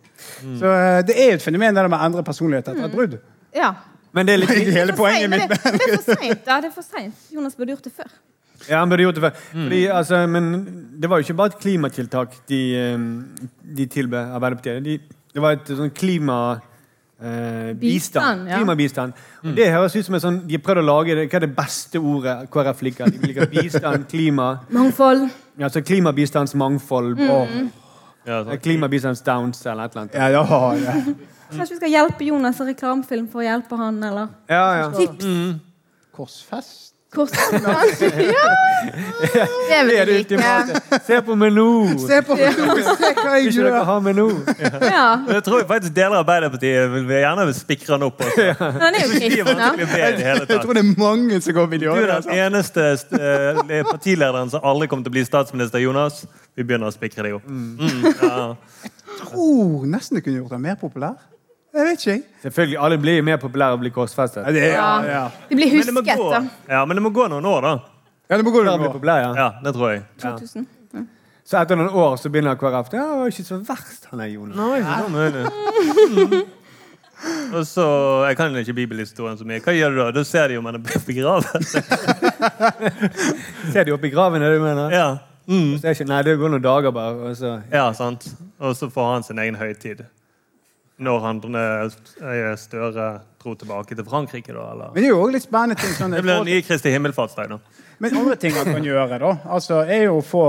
Speaker 11: Så eh, det er et fenomen det der med å endre personlighet etter et brudd.
Speaker 10: Ja.
Speaker 2: Men det er litt,
Speaker 11: Det er hele poenget
Speaker 10: men
Speaker 11: mitt.
Speaker 10: det, det er for seint. Ja, det er for sent. Jonas burde gjort det før.
Speaker 2: ja, han burde gjort det før. Fordi, altså, men det var jo ikke bare et klimatiltak de, eh, de tilbød Arbeiderpartiet. De, det var et sånn klima... Eh, bistand.
Speaker 10: Bistand, ja.
Speaker 2: Klimabistand. Og det høres ut som en sånn, de har prøvd å lage det, hva er det beste ordet KrF liker. De liker bistand, klima,
Speaker 10: Mangfold.
Speaker 2: altså klimabistandsmangfold. og-
Speaker 1: Ja, sånn.
Speaker 2: Klimabistands downs eller et eller annet.
Speaker 11: Ja, ja, ja.
Speaker 10: Kanskje vi skal hjelpe Jonas i reklamefilm for å hjelpe han, eller?
Speaker 2: Ja, ja.
Speaker 10: Tips.
Speaker 11: Korsfest?
Speaker 10: Korsen. ja! Det
Speaker 2: Det er
Speaker 10: vil
Speaker 2: det
Speaker 10: jeg like.
Speaker 2: ultimate. Se på meg nå! Skal
Speaker 11: Se på se hva jeg
Speaker 2: ikke dere
Speaker 11: gjør!
Speaker 2: ha meg nå?
Speaker 10: Ja.
Speaker 1: Men jeg tror faktisk deler av Arbeiderpartiet vil vil gjerne spikre den opp. Også.
Speaker 10: Men han er jo
Speaker 1: Det er
Speaker 10: kristen, da.
Speaker 1: vanskelig å be i det hele
Speaker 11: Jeg
Speaker 1: tatt.
Speaker 11: tror det er mange som går
Speaker 1: Du
Speaker 11: videoer.
Speaker 1: er den eneste eh, partilederen som aldri kommer til å bli statsminister, Jonas. Vi begynner å spikre deg opp. Mm, ja.
Speaker 11: tror nesten du kunne gjort deg mer populær. Jeg vet ikke, jeg.
Speaker 2: Selvfølgelig, Alle blir jo mer populære og blir korsfestet.
Speaker 11: Ja, det, ja, ja.
Speaker 10: De blir
Speaker 1: Men det må
Speaker 10: husket,
Speaker 1: gå.
Speaker 10: da.
Speaker 1: Ja, men det må gå noen år, da.
Speaker 11: ja det må gå
Speaker 2: Alle blir
Speaker 11: nå.
Speaker 2: populære, ja.
Speaker 1: Ja, Det tror jeg.
Speaker 10: 2000.
Speaker 2: Så etter noen år så begynner KrF Ja, det var ikke så verst, han er Jonas.
Speaker 1: Nei, ikke sånn er det. Og så, Jeg kan ikke bibelhistorien så mye. Hva gjør du da? Da ser de om han er begravet.
Speaker 2: Ser de oppe i graven, er det du mener?
Speaker 1: Ja, mm.
Speaker 2: Så er ikke, nei, det går noen dager bare. Og så.
Speaker 1: ja sant. Og så får han sin egen høytid. Når han eh, Støre dro tilbake til Frankrike, da? eller?
Speaker 11: Men det er jo også litt spennende ting. Sånn,
Speaker 1: Det blir den nye Kristi himmelfartsdag, da.
Speaker 11: Men andre ting man kan gjøre, da, altså, er jo å få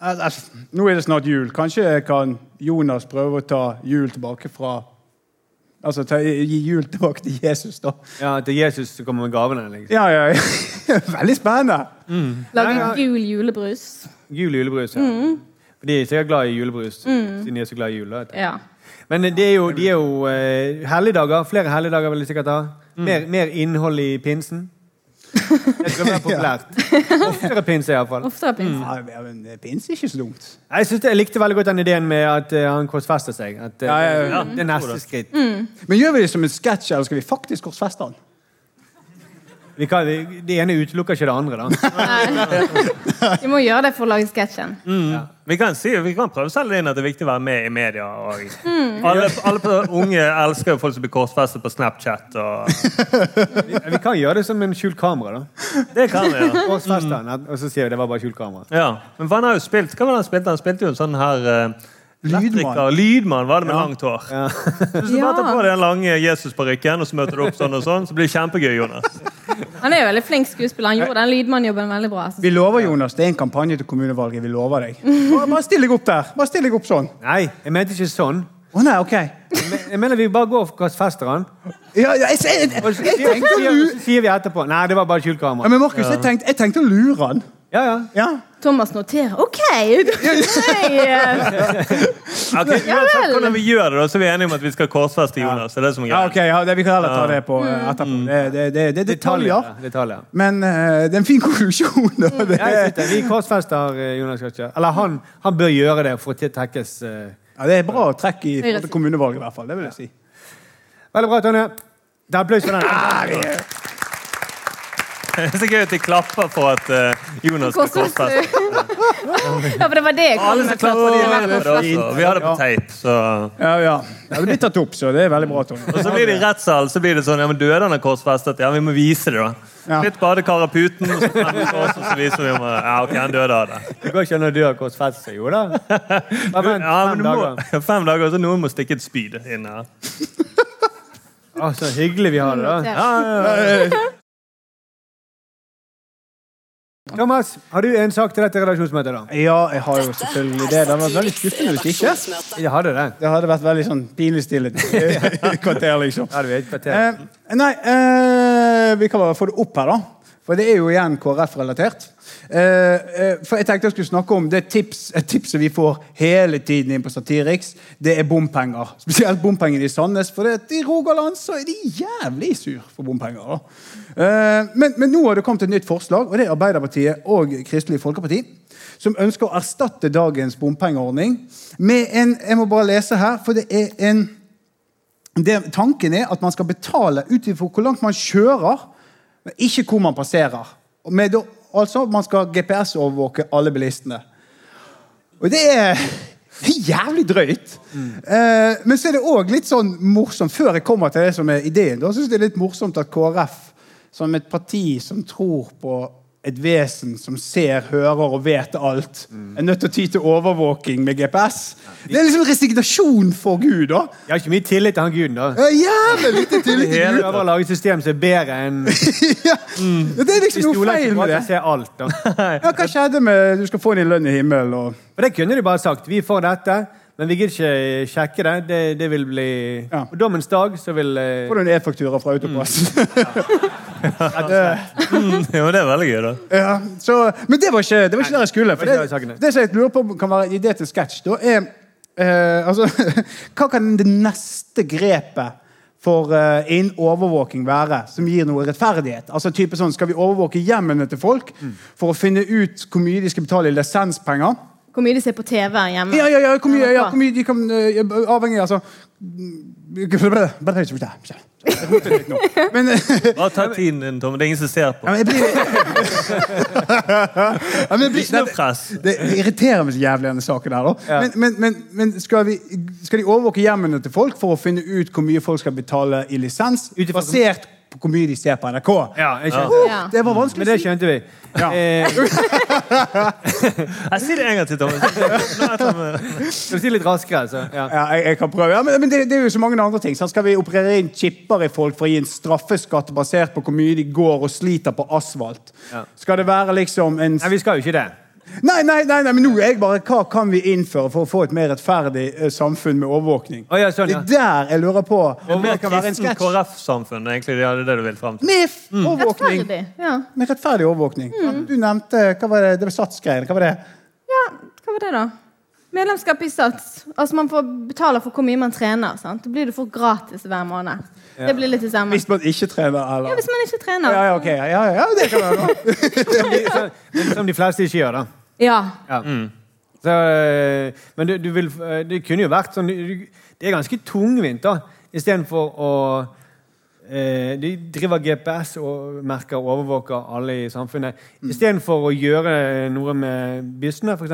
Speaker 11: al- al- Nå er det snart jul. Kanskje kan Jonas prøve å ta jul tilbake fra Altså ta, gi jul tilbake til Jesus, da.
Speaker 2: Ja, Til Jesus så kommer gavene. liksom.
Speaker 11: Ja, ja, ja. Veldig spennende.
Speaker 10: Lage
Speaker 2: Ja, ja.
Speaker 10: gul julebrus.
Speaker 2: Jul og julebrus. ja.
Speaker 11: Mm.
Speaker 2: For De er sikkert glad i julebrus, siden de er så glad i jul. da, vet du.
Speaker 10: Ja.
Speaker 2: Men det er jo, de er jo eh, helligdager. Flere helligdager vil de sikkert ha.
Speaker 11: Mm.
Speaker 2: Mer, mer innhold i pinsen. Det skal være populært. Oftere pinse, iallfall.
Speaker 10: Oftere pinse.
Speaker 11: Ja, men det finnes ikke så dumt.
Speaker 2: Jeg synes det, jeg likte veldig godt den ideen med at eh, han korsfester seg. At, eh,
Speaker 11: Ja, ja, Mm. ja.
Speaker 2: Det er neste skritt.
Speaker 11: Men gjør vi det som en sketsj, eller skal vi faktisk korsfeste den?
Speaker 2: Vi kan, vi- det ene utelukker ikke det andre, da.
Speaker 10: Vi må gjøre det for å lage sketsjen.
Speaker 1: Mm. Vi, kan si, vi kan prøve å selge inn at det er viktig å være med i media. Og
Speaker 10: Mm.
Speaker 1: alle, alle på- unge elsker jo folk som blir korsfestet på Snapchat. Og...
Speaker 2: Vi kan gjøre det som en skjult kamera, da.
Speaker 1: Det kan vi, ja.
Speaker 2: Og, feste
Speaker 11: Mm.
Speaker 2: den, og så sier vi det var bare skjult kamera.
Speaker 1: Ja. Men hva han har jo spilt? Hva var det han spilte? Han spilte jo en sånn her eh, elektriker. Lydmann var det med langt hår. Hvis du bare tar på deg den lange Jesus-parykken og så møter du opp sånn og sånn, så blir det kjempegøy, Jonas.
Speaker 10: Han er jo veldig flink skuespiller. Han gjorde den lydmannjobben veldig bra. altså.
Speaker 11: Vi lover, Jonas. Det er en kampanje til kommunevalget. Vi lover deg. Bare, bare still deg opp der. Bare still deg opp sånn.
Speaker 2: Nei, jeg mente ikke sånn.
Speaker 11: Å nei, ok.
Speaker 2: Jeg mener vi bare går og fester den.
Speaker 11: Ja, ja, jeg, jeg, jeg,
Speaker 2: Og så
Speaker 11: jeg
Speaker 2: sier,
Speaker 11: tenkte å lure
Speaker 2: så sier vi etterpå Nei, det var bare skjult kamera.
Speaker 11: ja, Men Markus, jeg tenkte, jeg tenkte å lure han.
Speaker 2: Ja, ja.
Speaker 10: Thomas noterer. OK! Nei, eh,
Speaker 1: Ok,
Speaker 10: Ja
Speaker 1: uansett
Speaker 10: vel.
Speaker 1: hvordan vi gjør det, da, så er vi enige om at vi skal korsfeste Jonas. Det er det som er
Speaker 11: Ja,
Speaker 1: greit.
Speaker 11: ok, ja, det, Vi kan heller ta det på eh,
Speaker 1: Mm.
Speaker 11: etterpå. Det, det, det, det er detaljer.
Speaker 2: Detaljer. Mm.
Speaker 11: Men eh, det er en fin konklusjon. da. Det
Speaker 2: Jeg
Speaker 11: er-
Speaker 2: synes det. Vi korsfester eh, Jonas Gatscher. Eller han, han bør gjøre det for å tiltekkes eh.
Speaker 11: Ja, Det er bra trekk i forhold
Speaker 2: Høyre-
Speaker 11: til kommunevalget, i hvert fall. Det vil jeg si.
Speaker 2: Veldig bra, Tonje. Det er applaus for den.
Speaker 1: Det er så gøy at de klapper for at eh, Jonas skal korsfeste.
Speaker 10: ja, for det var det jeg kom
Speaker 1: Alle som
Speaker 10: med.
Speaker 1: klapper, de
Speaker 10: Ja,
Speaker 1: gjør det også. Vi har det på teip, så
Speaker 11: Ja, ja. ja det blir tatt opp, så det er veldig bra. Tony.
Speaker 1: Og så blir det i rettssal så blir det sånn Ja, men døde han av korsfestet? Ja, vi må vise det, da. Litt badekar av puten, og så fremmer vi oss, og så viser vi om eh, Ja, ok, han døde av det.
Speaker 2: Det går ikke an å dø av korsfestelse, jo da. Bare vent
Speaker 1: Ja, men
Speaker 2: fem
Speaker 1: du må,
Speaker 2: dager.
Speaker 1: fem dager, så noen må stikke et spyd inn her.
Speaker 2: Å, så hyggelig vi har det, da.
Speaker 1: Ja, ja, ja.
Speaker 2: Thomas, har du en sak til dette redaksjonsmøtet, da?
Speaker 11: Ja, jeg har jo selvfølgelig det. Det hadde vært veldig skuffende hvis ikke.
Speaker 2: Jeg hadde det.
Speaker 11: Det hadde vært veldig sånn pinlig stille i kvarter, liksom.
Speaker 2: Ja, det var et kvarter.
Speaker 11: Eh, nei, eh, vi kan bare få det opp her, da. For det er jo igjen KrF-relatert. Eh, eh, for jeg tenkte jeg skulle snakke om det tips, et tips som vi får hele tiden inn på Satiriks. Det er bompenger. Spesielt bompengene i Sandnes. For det, at i Rogaland så er de jævlig sur for bompenger. da. Eh, men, men nå har det kommet et nytt forslag, og det er Arbeiderpartiet og Kristelig Folkeparti. Som ønsker å erstatte dagens bompengeordning med en Jeg må bare lese her, for det er en det, tanken er at man skal betale ut ifra hvor langt man kjører, men ikke hvor man passerer. Og Med, da- altså, man skal GPS-overvåke alle bilistene. Og det er det er jævlig drøyt. Eh, men så er det òg litt sånn morsomt, før jeg kommer til det som er ideen, da synes jeg det er litt morsomt at KrF, som et parti som tror på et vesen som ser, hører og vet alt, er nødt til å ty til overvåking med GPS. Det er liksom resignasjon for Gud, da.
Speaker 2: Jeg har ikke mye tillit til han guden, da.
Speaker 11: Ja, Jævlig lite tillit til
Speaker 2: Hele
Speaker 11: Gud.
Speaker 2: prøver å lage et system som er bedre enn
Speaker 11: Men Det er liksom noe feil med det.
Speaker 2: Ser alt, da.
Speaker 11: Ja, hva skjedde med du skal få din lønn i himmelen og
Speaker 2: For det kunne de bare sagt. Vi får dette, men vi gidder ikke sjekke det. Det, det vil bli På dommens dag så vil eh,
Speaker 11: Får du en e-faktura fra Autopass?
Speaker 2: Mm.
Speaker 1: Jo, det er veldig gøy, da.
Speaker 11: Ja, så, men det var ikke det var ikke der jeg skulle. For
Speaker 2: det var ikke
Speaker 11: det,
Speaker 2: der jeg
Speaker 11: det som jeg lurer på om kan være en idé til sketsj, da er eh, altså, Hva kan det neste grepet for eh, innen overvåking være som gir noe rettferdighet? Altså type sånn, Skal vi overvåke hjemmene til folk
Speaker 2: Mm.
Speaker 11: for å finne ut hvor mye de skal betale i lisenspenger?
Speaker 10: Hvor mye de ser på TV hjemme.
Speaker 11: Ja, ja, ja, hvor mye, ja,
Speaker 10: NRK.
Speaker 11: hvor mye de kan eh, Avhengig, altså Men
Speaker 1: Bare ta tiden din, Tom. Det er ingen som ser på.
Speaker 11: eh, Ja, men jeg blir- ja, men jeg blir-
Speaker 1: Ikke noe press.
Speaker 11: det irriterer meg så jævlig, denne saken her. da.
Speaker 1: Ja.
Speaker 11: Men, men, men, men skal, vi, skal de overvåke hjemmene til folk for å finne ut hvor mye folk skal betale i lisens, basert på hvor mye de ser på NRK?
Speaker 2: Ja, jeg skjønte
Speaker 11: Uh,
Speaker 2: det.
Speaker 11: det var vanskelig
Speaker 2: Men det skjønte vi. Eh,
Speaker 1: Jeg sier det en gang til, Tom.
Speaker 2: Skal vi si litt raskere, altså? Ja.
Speaker 11: Ja, jeg, jeg kan prøve. Ja, men men det, det er jo så mange andre ting. Sant? Skal vi operere inn chipper i folk for å gi en straffeskatt basert på hvor mye de går og sliter på asfalt? Skal det være liksom en Nei,
Speaker 2: vi skal jo ikke det.
Speaker 11: Nei, nei, nei, men nå er jeg bare Hva kan vi innføre for å få et mer rettferdig eh, samfunn med overvåkning?
Speaker 2: Å, ja, sånn, ja.
Speaker 11: Det er der jeg lurer på
Speaker 1: Et
Speaker 11: om det
Speaker 1: mer
Speaker 11: kan være en
Speaker 1: kristent
Speaker 11: sketsj.
Speaker 1: KrF-samfunn, egentlig. Det er det du vil fram til.
Speaker 11: Med f-
Speaker 2: Mm.
Speaker 11: overvåkning.
Speaker 10: Rettferdig. Ja. Mm.
Speaker 11: Med rettferdig overvåkning. Du nevnte hva var det, det var satsgreiene. Hva var det?
Speaker 10: ja, hva var det, da? Medlemskap i Sats. Altså Man får betale for hvor mye man trener. sant? Da blir det for gratis hver måned.
Speaker 11: Ja.
Speaker 10: Det blir litt det samme.
Speaker 11: Hvis man ikke trener, eller?
Speaker 10: Ja, hvis man ikke
Speaker 11: Ja,
Speaker 10: trener.
Speaker 11: ja, ok. Ja, ja, ja, det kan være bra.
Speaker 2: Men Som de fleste ikke gjør, da.
Speaker 10: Ja.
Speaker 2: Ja.
Speaker 11: Mm.
Speaker 2: Så, eh, men du, du vil, eh, det kunne jo vært sånn du- Det er ganske tungvint, da. Istedenfor å eh, eh, de driver GPS og merker og overvåker alle i samfunnet.
Speaker 11: Mm.
Speaker 2: Istedenfor å gjøre noe med bussene, f.eks.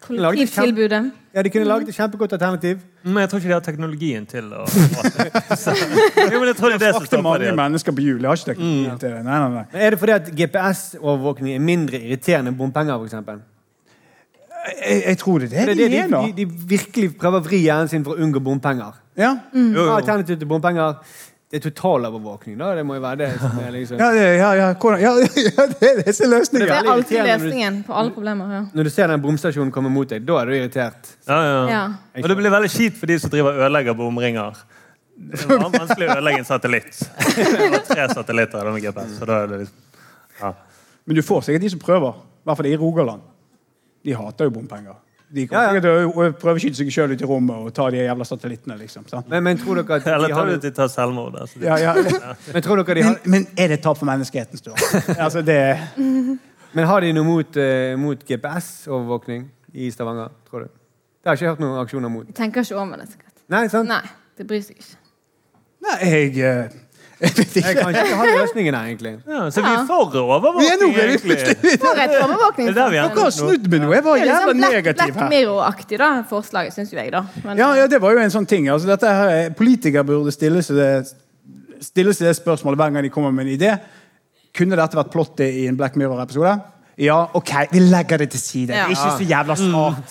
Speaker 10: Kollektivtilbudet.
Speaker 2: Ja, de kunne laget et kjempegodt alternativ.
Speaker 1: Men jeg tror ikke de har teknologien til å Så- Jo, men jeg tror det er det som
Speaker 11: Frakter
Speaker 1: stopper
Speaker 11: mange
Speaker 1: dem.
Speaker 11: mennesker på hjul. Jeg har ikke
Speaker 2: Mm.
Speaker 11: teknologi til det. Nei, nei, nei.
Speaker 2: Men er det fordi at GPS-overvåkning er mindre irriterende enn bompenger, f.eks.?
Speaker 11: Jeg, jeg tror det er det,
Speaker 2: det
Speaker 11: de
Speaker 2: de,
Speaker 11: mener.
Speaker 2: de, de virkelig prøver å vri hjernen sin for å unngå bompenger.
Speaker 11: Ja.
Speaker 2: Mm.
Speaker 11: Jo, jo.
Speaker 2: Alternativ til bompenger det er totalovervåkning. da. Det må jo være det som er liksom
Speaker 11: Ja, det- ja, ja, hvordan, ja, ja, det er disse løsningene.
Speaker 10: Det er alltid
Speaker 2: irriterende når du-
Speaker 10: løsningen på alle problemer. Ja.
Speaker 2: Når du ser den bomstasjonen komme mot deg, da er du irritert.
Speaker 1: Ja, ja.
Speaker 10: Ja.
Speaker 1: Og det blir veldig kjipt for de som driver og ødelegger bomringer. Det var vanskelig å ødelegge en satellitt. Det var tre satellitter i denne GPS. Så da er det liksom... ja.
Speaker 11: Men du får sikkert de som prøver. I hvert fall i Rogaland. De hater jo bompenger. De kommer sikkert til å prøveskyte seg sjøl ut i rommet og ta de jævla satellittene. liksom. sant?
Speaker 2: Men, men tror dere at de
Speaker 1: Eller
Speaker 2: har
Speaker 1: tar du
Speaker 2: noe-
Speaker 1: til å ta selvmord? Altså.
Speaker 11: Ja, ja.
Speaker 2: Men tror dere de har
Speaker 11: Men er det et tap for menneskeheten, Sture? altså, det
Speaker 2: Men har de noe mot, eh, mot GPS-overvåkning i Stavanger, tror du? Det har jeg ikke hørt noen aksjoner mot.
Speaker 10: Jeg tenker ikke over det. sikkert.
Speaker 2: Nei, sant?
Speaker 10: Nei, det bryr seg ikke.
Speaker 11: Nei, jeg, eh, jeg vet
Speaker 2: Jeg kan ikke
Speaker 11: ikke.
Speaker 2: ha løsningen her, egentlig.
Speaker 1: Ja, så vi er for
Speaker 11: Vi er nå
Speaker 1: overvåkning,
Speaker 11: veldig
Speaker 1: egentlig.
Speaker 10: For et
Speaker 1: Det er der vi er.
Speaker 10: overvåkningssamfunn.
Speaker 11: Dere har snudd meg nå. Jeg var
Speaker 10: Det er jo
Speaker 11: jævla
Speaker 10: liksom Black,
Speaker 11: negativ
Speaker 10: Black
Speaker 11: her.
Speaker 10: Mirror-aktig, da, forslaget, syns jo jeg, da. Men,
Speaker 11: Ja, ja, det var jo en sånn ting. Altså, dette her, politikere burde stille seg, det, stille seg det spørsmålet hver gang de kommer med en idé. Kunne dette vært plottet i en Black Mirror-episode? Ja, OK, vi legger det til side. Det er ikke så jævla smart.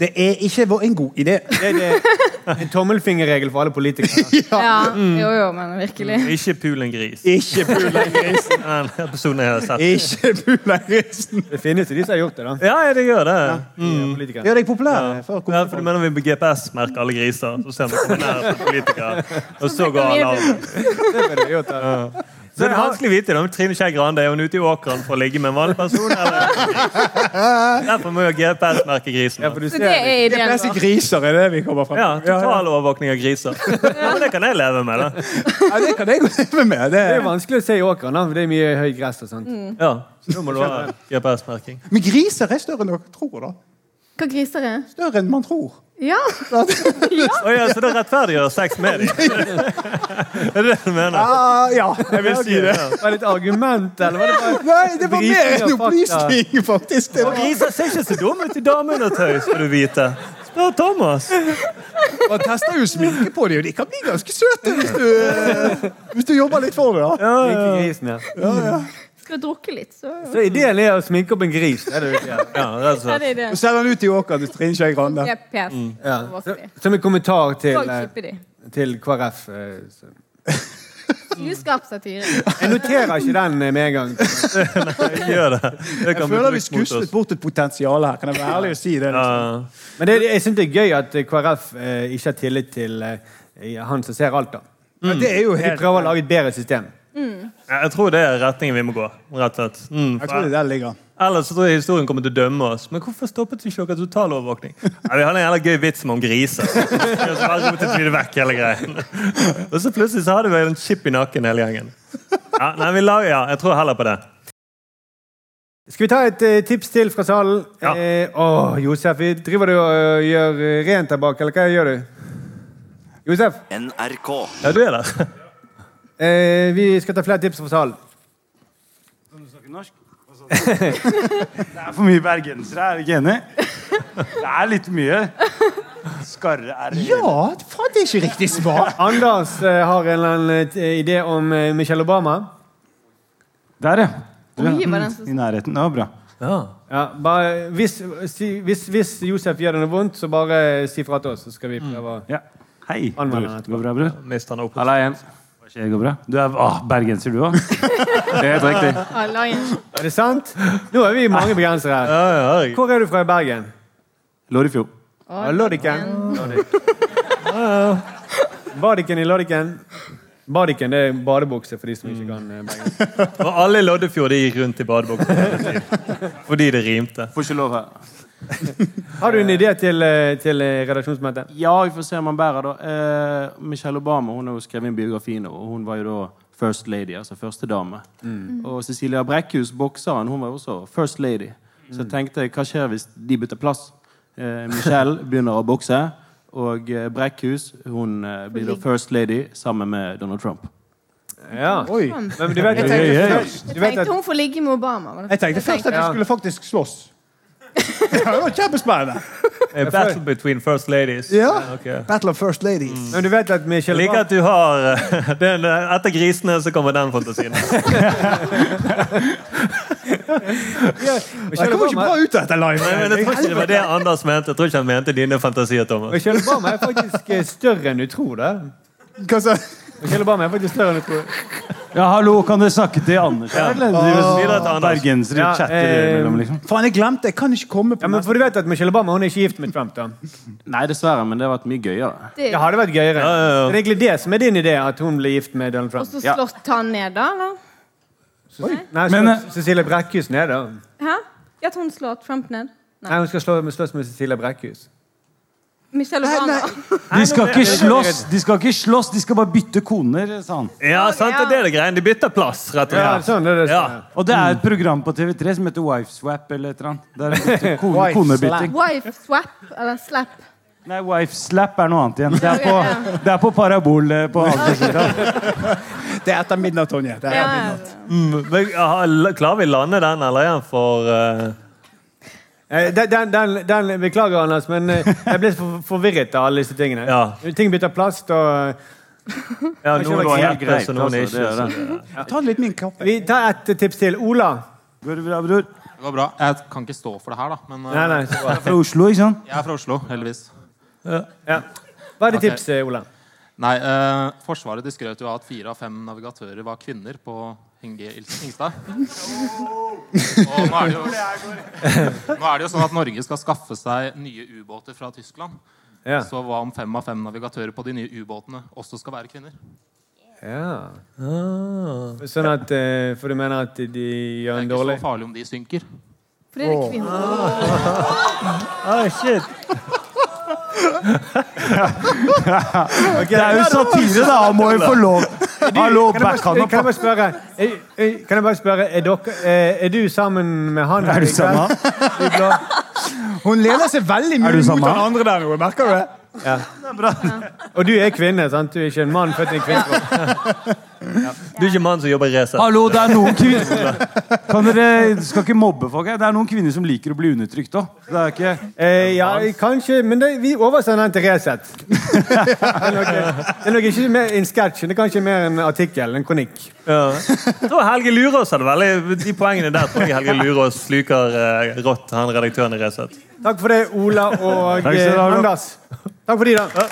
Speaker 11: Det er ikke vår- en god idé.
Speaker 2: Det er det, en tommelfingerregel for alle politikere.
Speaker 10: ja, jo, jo, men virkelig.
Speaker 1: Ikke pul en gris.
Speaker 11: Ikke pul en gris.
Speaker 1: Den episoden sånn jeg har sett.
Speaker 11: Ikke pul en grisen.
Speaker 2: Det finnes jo de som har gjort det, da.
Speaker 1: Ja, ja, det gjør det.
Speaker 2: Mm. Politikere.
Speaker 11: Gjør deg populær. for å komme
Speaker 1: Ja, for du mener vi med GPS merker alle griser, så ser vi hvor nær på politikere, og så går alarmen.
Speaker 2: Det er det de har gjort, da.
Speaker 1: Så er det vanskelig å vite da, om Trine Skei Grande er hun ute i åkeren for å ligge med en vanlig person. Eller? Derfor må jo GPS merke grisen.
Speaker 2: Ja,
Speaker 1: da.
Speaker 2: for du
Speaker 10: Så
Speaker 2: ser
Speaker 10: det er
Speaker 11: Det er
Speaker 10: ideen
Speaker 11: flest
Speaker 10: vår.
Speaker 11: griser er det vi kommer frem til.
Speaker 1: Ja, Total overvåkning av griser. Ja, men det kan jeg leve med, da.
Speaker 11: Ja, det kan jeg godt leve med. Det
Speaker 2: Det er
Speaker 11: er...
Speaker 2: jo vanskelig å se i åkeren, da. for Det er mye høy gress og sånt.
Speaker 1: Ja, så nå må du ha GPS-merking.
Speaker 11: Men griser er større enn dere tror, da.
Speaker 10: Hva griser er?
Speaker 11: Større enn man tror.
Speaker 10: Ja.
Speaker 1: Å ja, så det rettferdiggjør sex med dem? Er det det du mener?
Speaker 11: Ah, ja, jeg vil si det.
Speaker 2: Var det et argument, eller var det bare
Speaker 11: Nei, det var mer
Speaker 2: Brising
Speaker 11: en
Speaker 2: av fakta.
Speaker 11: opplysning, faktisk. Det var
Speaker 1: Griser ser ikke så dumme ut i dameundertøy, skal du vite. Spør Thomas.
Speaker 11: Man tester jo sminke på dem, og de kan bli ganske søte hvis du, eh, hvis du jobber litt for det. da.
Speaker 2: Like grisen, ja.
Speaker 10: Skal drukke litt, så
Speaker 2: Så ideen er å sminke opp en gris. Er det jo ikke?
Speaker 1: Ja, rett og
Speaker 10: Ja,
Speaker 1: slett.
Speaker 10: det er det.
Speaker 11: Og selger den ut i åkeren til Trine Skei Grande.
Speaker 10: Ja, PS.
Speaker 2: Ja. Så,
Speaker 10: Overvåkning.
Speaker 2: som en kommentar til,
Speaker 10: Og
Speaker 2: eh,
Speaker 10: kippe de.
Speaker 2: til KrF. eh, så-
Speaker 10: Snuskap satire.
Speaker 2: Jeg noterer ikke den eh, med en gang.
Speaker 1: Gjør det. det
Speaker 11: Jeg
Speaker 1: kan bli
Speaker 11: føler vi
Speaker 1: brukt mot
Speaker 11: skuslet
Speaker 1: oss.
Speaker 11: bort et potensial her. Kan jeg være ærlig og si det?
Speaker 1: Ja,
Speaker 11: Liksom?
Speaker 2: Men det, jeg syns det er gøy at eh, KrF eh, ikke har tillit til eh, han som ser alt, da.
Speaker 11: Ja, det er jo
Speaker 2: De
Speaker 11: helt
Speaker 2: prøver å lage et bedre system.
Speaker 1: Ja, jeg tror det er retningen vi må gå. rett og slett. Mm,
Speaker 11: Jeg tror det er der det ligger.
Speaker 1: Ellers så tror jeg historien kommer til å dømme oss. Men hvorfor stoppet vi ikke dere totalovervåkning? Ja, vi hadde en jævla gøy vits om griser. Og så bare rotet vi det vekk, hele greien. Og så plutselig så hadde vi en chip i nakken hele gjengen. Ja, nei, vi lager, ja, jeg tror heller på det.
Speaker 2: Skal vi ta et eh, tips til fra salen?
Speaker 1: Ja.
Speaker 2: Eh, åh, Josef, vi driver du og gjør eh, rent der bak, eller hva gjør du? Josef,
Speaker 12: NRK.
Speaker 1: Ja, du er der.
Speaker 2: eh, vi skal ta flere tips fra salen.
Speaker 5: Det er for mye bergensere, er du ikke enig? Det er litt mye. Skarre er
Speaker 11: Ja, faen, det er ikke riktig svar.
Speaker 2: Anders eh, har en eller annen eh, idé om eh, Michelle Obama.
Speaker 5: Der, ja. Du,
Speaker 10: Oi, var den så-
Speaker 5: I nærheten. Det var bra.
Speaker 1: Ja.
Speaker 2: Ja, bare, hvis, si, hvis, hvis Josef gjør det noe vondt, så bare eh, si fra til oss, så skal vi prøve å
Speaker 5: Mm. Ja. Hei, bror.
Speaker 2: Anvender den etterpå.
Speaker 5: Går det bra, bror?
Speaker 1: Mist han opp.
Speaker 5: Halla igjen. Hva skjer? Går det bra? Du er ah, bergenser, du òg? Helt riktig.
Speaker 10: Alle igjen.
Speaker 2: Er det sant? Nå er vi mange begrensere her.
Speaker 1: Ja, ja, herregud.
Speaker 2: Hvor er du fra i Bergen?
Speaker 5: Lorifjord.
Speaker 2: Ja, Loddiken. Badiken i Loddiken. Badiken det er badebukse for de som
Speaker 11: Mm.
Speaker 2: ikke kan eh, bergensk.
Speaker 1: Og alle i Loddefjord de gikk rundt i badebuksa hele tiden. Fordi det rimte.
Speaker 13: Får ikke lov her.
Speaker 2: Har du en idé til, eh, til eh, redaksjonsmøtet?
Speaker 13: Ja, vi får se om han bærer, da. Eh, Michelle Obama hun har jo skrevet inn biografi nå, og hun var jo da first lady, altså førstedame.
Speaker 8: Mm.
Speaker 13: Og Cecilia Brækhus, bokseren, hun var jo også first lady.
Speaker 8: Mm.
Speaker 13: Så jeg tenkte, hva skjer hvis de bytter plass? Eh, Michelle begynner å bokse, og eh, Brækhus hun eh, blir da first lady sammen med Donald Trump.
Speaker 2: Ja.
Speaker 11: Oi.
Speaker 2: Men du vet,
Speaker 11: Jeg tenkte først-
Speaker 10: Sånn. Jeg
Speaker 11: du vet
Speaker 10: tenkte
Speaker 11: at-
Speaker 10: hun får ligge med Obama. var det?
Speaker 11: Jeg tenkte først at de skulle faktisk slåss. Det var kjempespennende!
Speaker 1: A battle between first ladies.
Speaker 11: Ja.
Speaker 1: Ok.
Speaker 11: Battle of first ladies.
Speaker 2: Men du vet at
Speaker 1: Jeg
Speaker 2: Michelle
Speaker 1: liker at du har eh, det er- Etter grisene så kommer den fantasien.
Speaker 11: Jeg kommer ikke bra ut av dette live.
Speaker 1: Nei, men jeg tror ikke det var det Anders mente. Jeg tror ikke han mente dine fantasier, Thomas.
Speaker 2: Michelle Obama er faktisk eh, større enn du tror det.
Speaker 11: Hva sa
Speaker 2: Michelle Obama er faktisk større enn du tror.
Speaker 5: Ja, hallo, kan dere snakke til Anders?
Speaker 2: Ja.
Speaker 5: Eller
Speaker 2: Åh.
Speaker 5: driver og bergensere
Speaker 2: Ja,
Speaker 5: chatter
Speaker 2: eh,
Speaker 5: imellom, liksom.
Speaker 11: Faen, jeg glemte! Jeg kan ikke komme på
Speaker 2: ja, men For du vet at Michelle Obama hun er ikke gift med Trump, da?
Speaker 13: Nei, dessverre, men det har vært mye gøyere.
Speaker 10: Det-
Speaker 2: Det hadde vært gøyere.
Speaker 13: ja.
Speaker 2: Så Det er egentlig det som er din idé, at hun blir gift med Donald
Speaker 10: Og
Speaker 2: Trump.
Speaker 10: så slått han ned, da? eller?
Speaker 2: Nei, så Cecilie Brekkhus ned, da.
Speaker 10: Hæ? Ja, At hun slår Trump ned?
Speaker 2: Nei, hun skal slå, slåss med Cecilie Brekkhus.
Speaker 10: Michelle Obama.
Speaker 5: De skal ikke slåss, de skal ikke slåss, de skal bare bytte koner, sa han.
Speaker 1: Ja, sant, det er det greien. De bytter plass, rett og slett.
Speaker 5: Ja, sånn
Speaker 2: er det.
Speaker 5: Og det
Speaker 11: Mm.
Speaker 5: er et program på TV3 som heter Wifeswap eller et eller annet. Der er det kone,
Speaker 10: Wife
Speaker 5: konebytting.
Speaker 10: slap. Wife swap, eller slap.
Speaker 5: Nei, Wife-slap er noe annet igjen. Det er
Speaker 10: Ok,
Speaker 5: på,
Speaker 10: ja.
Speaker 5: det er på parabol eh, på andre sida.
Speaker 11: Det er etter midnatt, Tonje. Det er
Speaker 10: Ja,
Speaker 11: etter
Speaker 10: ja.
Speaker 11: midnatt.
Speaker 1: Mm, men, ja, la- klarer vi lande den, eller er den for eh,
Speaker 2: Eh, Den, den, den, den Beklager, Anders, men eh, jeg ble så for- forvirret av alle disse tingene. Ting bytter plast og eh,
Speaker 1: Ja,
Speaker 2: Jeg
Speaker 1: noen er
Speaker 2: skjønner ikke.
Speaker 1: helt greit, så noen er ikke.
Speaker 2: altså, det er
Speaker 1: så-
Speaker 11: Ta litt min kaffe.
Speaker 2: Vi tar et tips til. Ola.
Speaker 5: Går det bra, bror?
Speaker 8: Det går bra. Jeg kan ikke stå for det her, da. Men, eh,
Speaker 2: Nei, nei, så bra.
Speaker 5: Fra Oslo, ikke sant?
Speaker 8: Jeg er fra Oslo, heldigvis.
Speaker 2: Ja. Hva er ditt
Speaker 8: Ok.
Speaker 2: tips, eh, Ola?
Speaker 8: Nei, eh, Forsvaret de skrøt jo av at fire av fem navigatører var kvinner på Hinge Ingstad. Og nå er, det jo, nå er det jo sånn at Norge skal skaffe seg nye ubåter fra Tyskland.
Speaker 2: Ja.
Speaker 8: Så hva om fem av fem navigatører på de nye ubåtene også skal være kvinner?
Speaker 2: Ja. Sånn at eh, For du mener at de gjør en dårlig
Speaker 8: Det er ikke så farlig om de synker.
Speaker 10: For det er det kvinner.
Speaker 2: Ah, shit.
Speaker 5: Det er jo satire, da. Han må jo få lov. Hallo,
Speaker 2: Kan jeg
Speaker 5: back han
Speaker 2: bare,
Speaker 5: opp.
Speaker 2: kan jeg bare spørre, er, er, kan jeg bare spørre er, dere, eh, er du sammen med han?
Speaker 5: Er du sammen med
Speaker 2: han? Du blå?
Speaker 11: Hun lener seg veldig
Speaker 2: Er
Speaker 11: mye
Speaker 2: du
Speaker 11: mot
Speaker 2: sammen?
Speaker 11: den andre der nå. Merker du det?
Speaker 2: Ja. Og du er kvinne, sant? Du er ikke en mann født i en kvinnekropp.
Speaker 1: Du er ikke mann som jobber i Resett.
Speaker 5: Hallo, det er noen kvinner Kan dere, Du skal ikke mobbe folk her. Det er noen kvinner som liker å bli undertrykt òg. Det er ikke
Speaker 2: Eh, ja, kanskje, men det, vi oversender den til Resett. Det er nok- det er nok ikke mer en sketsj, det er kanskje mer en artikkel, en kronikk.
Speaker 1: Ja. Jeg tror Helge Lurås hadde veldig De poengene der tror jeg Helge Lurås sluker eh, rått, han redaktøren i Resett.
Speaker 2: Takk for det, Ola og
Speaker 1: Takk skal
Speaker 2: eh,
Speaker 1: du ha, Ola.
Speaker 2: Anders. Takk for de, da.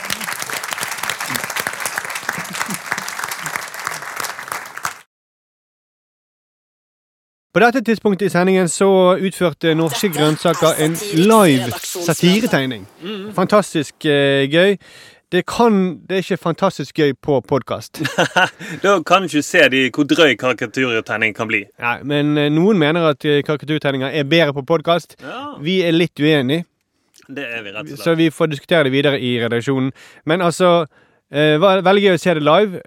Speaker 2: På dette tidspunktet i sendingen så utførte Norske Grønnsaker en live satiretegning.
Speaker 1: Mm.
Speaker 2: Fantastisk eh, gøy. Det, kan, det er ikke fantastisk gøy på podkast.
Speaker 3: Da kan du ikke se de, hvor drøy karikaturtegning kan bli.
Speaker 2: Nei, men eh, noen mener at eh, karikaturtegninger er bedre på podkast. Vi er litt uenige.
Speaker 3: Det er vi rett og
Speaker 2: Så
Speaker 3: slett.
Speaker 2: vi får diskutere det videre i redaksjonen. Men altså, eh, var veldig gøy å se det live.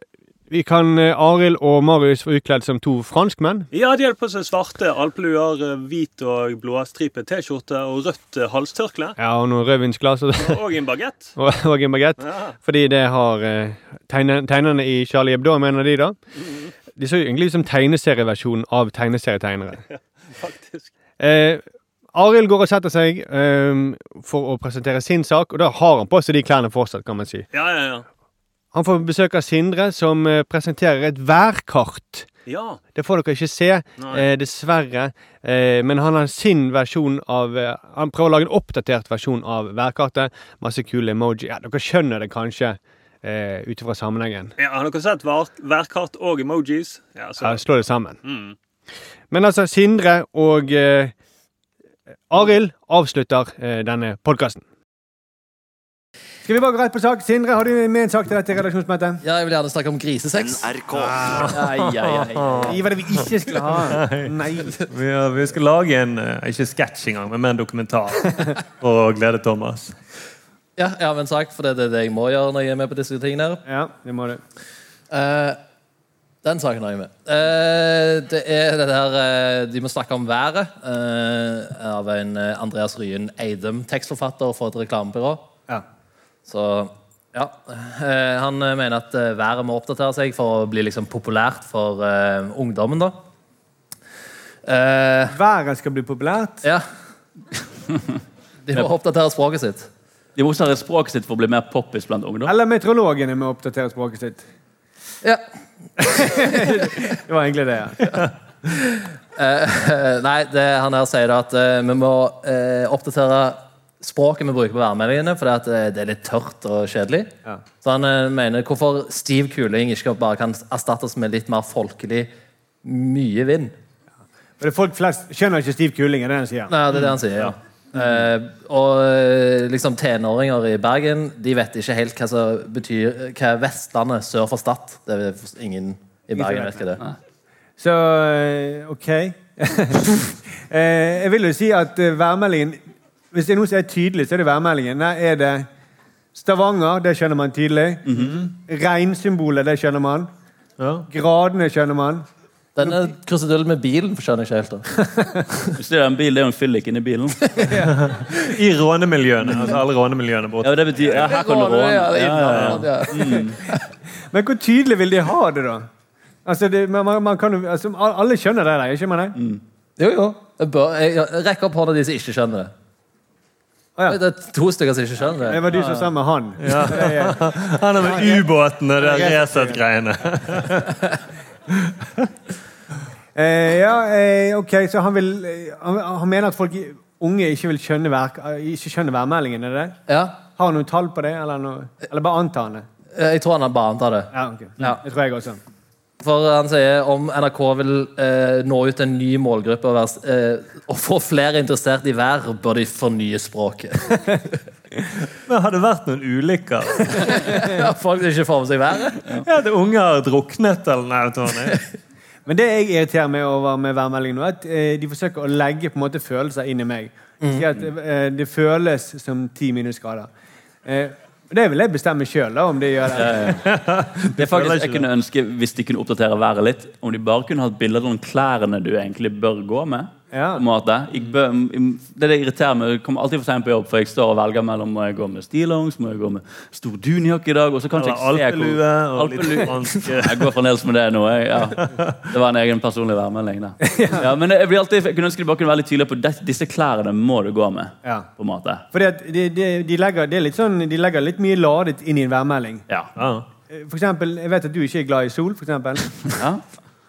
Speaker 2: Vi kan eh, Arild og Marius var utkledd som to franskmenn.
Speaker 3: Ja, de hadde på seg svarte alpeluer, eh, hvit og blåstripet T-skjorte og rødt eh, halstørkle.
Speaker 2: Ja, og noen rødvinsglass og,
Speaker 3: Og en bagett.
Speaker 2: og, og en bagett. Fordi det har eh, tegne- tegnerne i Charlie Hebdo, mener de, da. De så jo egentlig ut som tegneserieversjonen av tegneserietegnere. Eh, Arild går og setter seg eh, for å presentere sin sak, og da har han på seg de klærne fortsatt, kan man si.
Speaker 3: Ja, ja, ja.
Speaker 2: Han får besøk av Sindre, som eh, presenterer et værkart.
Speaker 3: Ja.
Speaker 2: Det får dere ikke se,
Speaker 3: Nei.
Speaker 2: eh, dessverre. Eh, men han har sin versjon av eh, Han prøver å lage en oppdatert versjon av værkartet. Masse kule emoji. Ja, dere skjønner det kanskje eh, ut ifra sammenhengen.
Speaker 3: ja har dere sett vær- værkart og emojis? Ja, så.
Speaker 2: Ja, slå det sammen.
Speaker 3: Mm.
Speaker 2: Men altså, Sindre og eh, Arild avslutter eh, denne podkasten. Skal vi bare gå rett på sak? Sindre, har du med en sak til dette redaksjonsmøtet?
Speaker 12: Ja, jeg vil gjerne snakke om grisesex. NRK. Ai, ai, ai.
Speaker 2: Gi hva det vi ikke skulle ha. Nei.
Speaker 1: Vi, eh, vi skal lage en eh, ikke sketsj engang, men mer en dokumentar for å glede Thomas.
Speaker 12: Ja, jeg har en sak, for det er det jeg må gjøre når jeg er med på disse tingene. her.
Speaker 2: Ja, det må du.
Speaker 12: Eh, den saken har jeg med. Eh, det er det der eh, De må snakke om været. eh, av en eh, Andreas Ryen Eidem, tekstforfatter for et reklamebyrå.
Speaker 2: Ja.
Speaker 12: Så Ja, eh, Han eh, mener at eh, været må oppdatere seg for å bli liksom populært for eh, ungdommen. da. Eh,
Speaker 2: været skal bli populært?
Speaker 12: Ja. De må
Speaker 14: Ja.
Speaker 12: oppdatere språket sitt.
Speaker 14: De må oppdatere språket sitt for å bli mer poppis blant ungdom.
Speaker 2: Eller meteorologene må oppdatere språket sitt.
Speaker 12: Ja.
Speaker 2: det var egentlig det, ja.
Speaker 12: Eh, nei, det, han her sier da at eh, vi må eh, oppdatere språket vi bruker på værmeldingene, for det, det er litt tørt og kjedelig. Så han eh, mener hvorfor stiv kuling ikke bare kan erstattes med litt mer folkelig mye vind.
Speaker 2: Men det er folk flest skjønner ikke stiv kuling, er det han sier?
Speaker 12: Nei, det er det han sier, ja. Eh, og eh, liksom tenåringer i Bergen de vet ikke helt hva, som betyr, hva Vestlandet sør for Stad Det er for- ingen i Bergen vet ikke det.
Speaker 2: Så eh, OK. Eh, Jeg vil jo si at eh, værmeldingen Hvis det er noe som er tydelig, så er det værmeldingen. Der er det Stavanger, det skjønner man tydelig. Regnsymbolet, det skjønner man. Gradene skjønner man.
Speaker 12: Denne krusedullen med bilen skjønner jeg ikke helt.
Speaker 14: Hvis det er en bil, det er jo en fyllik inni bilen.
Speaker 1: I rånemiljøene. Altså alle rånemiljøene borte.
Speaker 14: Ja, det betyr, ja, her kan du råne. Ja, ja, ja.
Speaker 2: Men hvor tydelig vil de ha det, da? Altså, det, man, man- man kan, jo- altså, al- alle skjønner det, der, ikke man det?
Speaker 12: Jo, jo. Jeg bør, jeg, jeg, rekk opp hånda de som ikke skjønner det. Det er to stykker som ikke skjønner det.
Speaker 2: Det var du som sa med han.
Speaker 1: Ja.
Speaker 2: Så det er-
Speaker 1: Han er med ubåten og det Resett-greiene.
Speaker 2: Eh, ja, eh, ok, så han vil eh, han, han mener at folk i- unge ikke vil skjønne, vær, eh, ikke skjønner værmeldingen, er det det?
Speaker 12: Ja.
Speaker 2: Har han noen tall på det, eller, noe, eller bare antar han det?
Speaker 12: Eh, Jeg tror han bare antar det.
Speaker 2: Ja, ok. Det tror jeg også.
Speaker 12: For han sier om NRK vil eh, nå ut til en ny målgruppe og, være, s- eh, og få flere interessert i vær, bør de fornye språket.
Speaker 1: Men har det vært noen ulykker?
Speaker 12: ja, folk som ikke får med seg været?
Speaker 1: Ja, det unge har druknet eller nei, vet du hva det er.
Speaker 2: Men det jeg irriterer meg over med værmeldingen nå, er at eh, de forsøker å legge på en måte følelser inn i meg. De sier at
Speaker 12: Mm.
Speaker 2: eh, det føles som ti minusgrader. Eh, det vil jeg bestemme sjøl, om det gjør det.
Speaker 14: Det er
Speaker 2: føler
Speaker 14: faktisk
Speaker 2: ikke
Speaker 14: jeg kunne ønske, Hvis de kunne oppdatere været litt, om de bare kunne hatt bilder av de klærne du egentlig bør gå med.
Speaker 2: Ja.
Speaker 14: på en måte. Jeg bør, det er det irriterer meg. Jeg kommer alltid for sent på jobb, for jeg står og velger mellom må jeg gå med stillongs, må jeg gå med stor dunjakke i dag og så kanskje
Speaker 1: Eller
Speaker 14: jeg
Speaker 1: alpelue og litt
Speaker 14: Alpelue.
Speaker 1: fransk.
Speaker 14: Jeg går fremdeles med det nå. Jeg, ja. Det var en egen personlig værmelding. da. Ja, men jeg, blir alltid, jeg kunne ønske de bare kunne være litt tydelige på at disse klærne må du gå med.
Speaker 2: Ja.
Speaker 14: på en måte.
Speaker 2: Fordi at de, de, de, legger, det er litt sånn, de legger litt mye ladet inn i en værmelding. Eh, For eksempel, jeg vet at du ikke er glad i sol, for eksempel.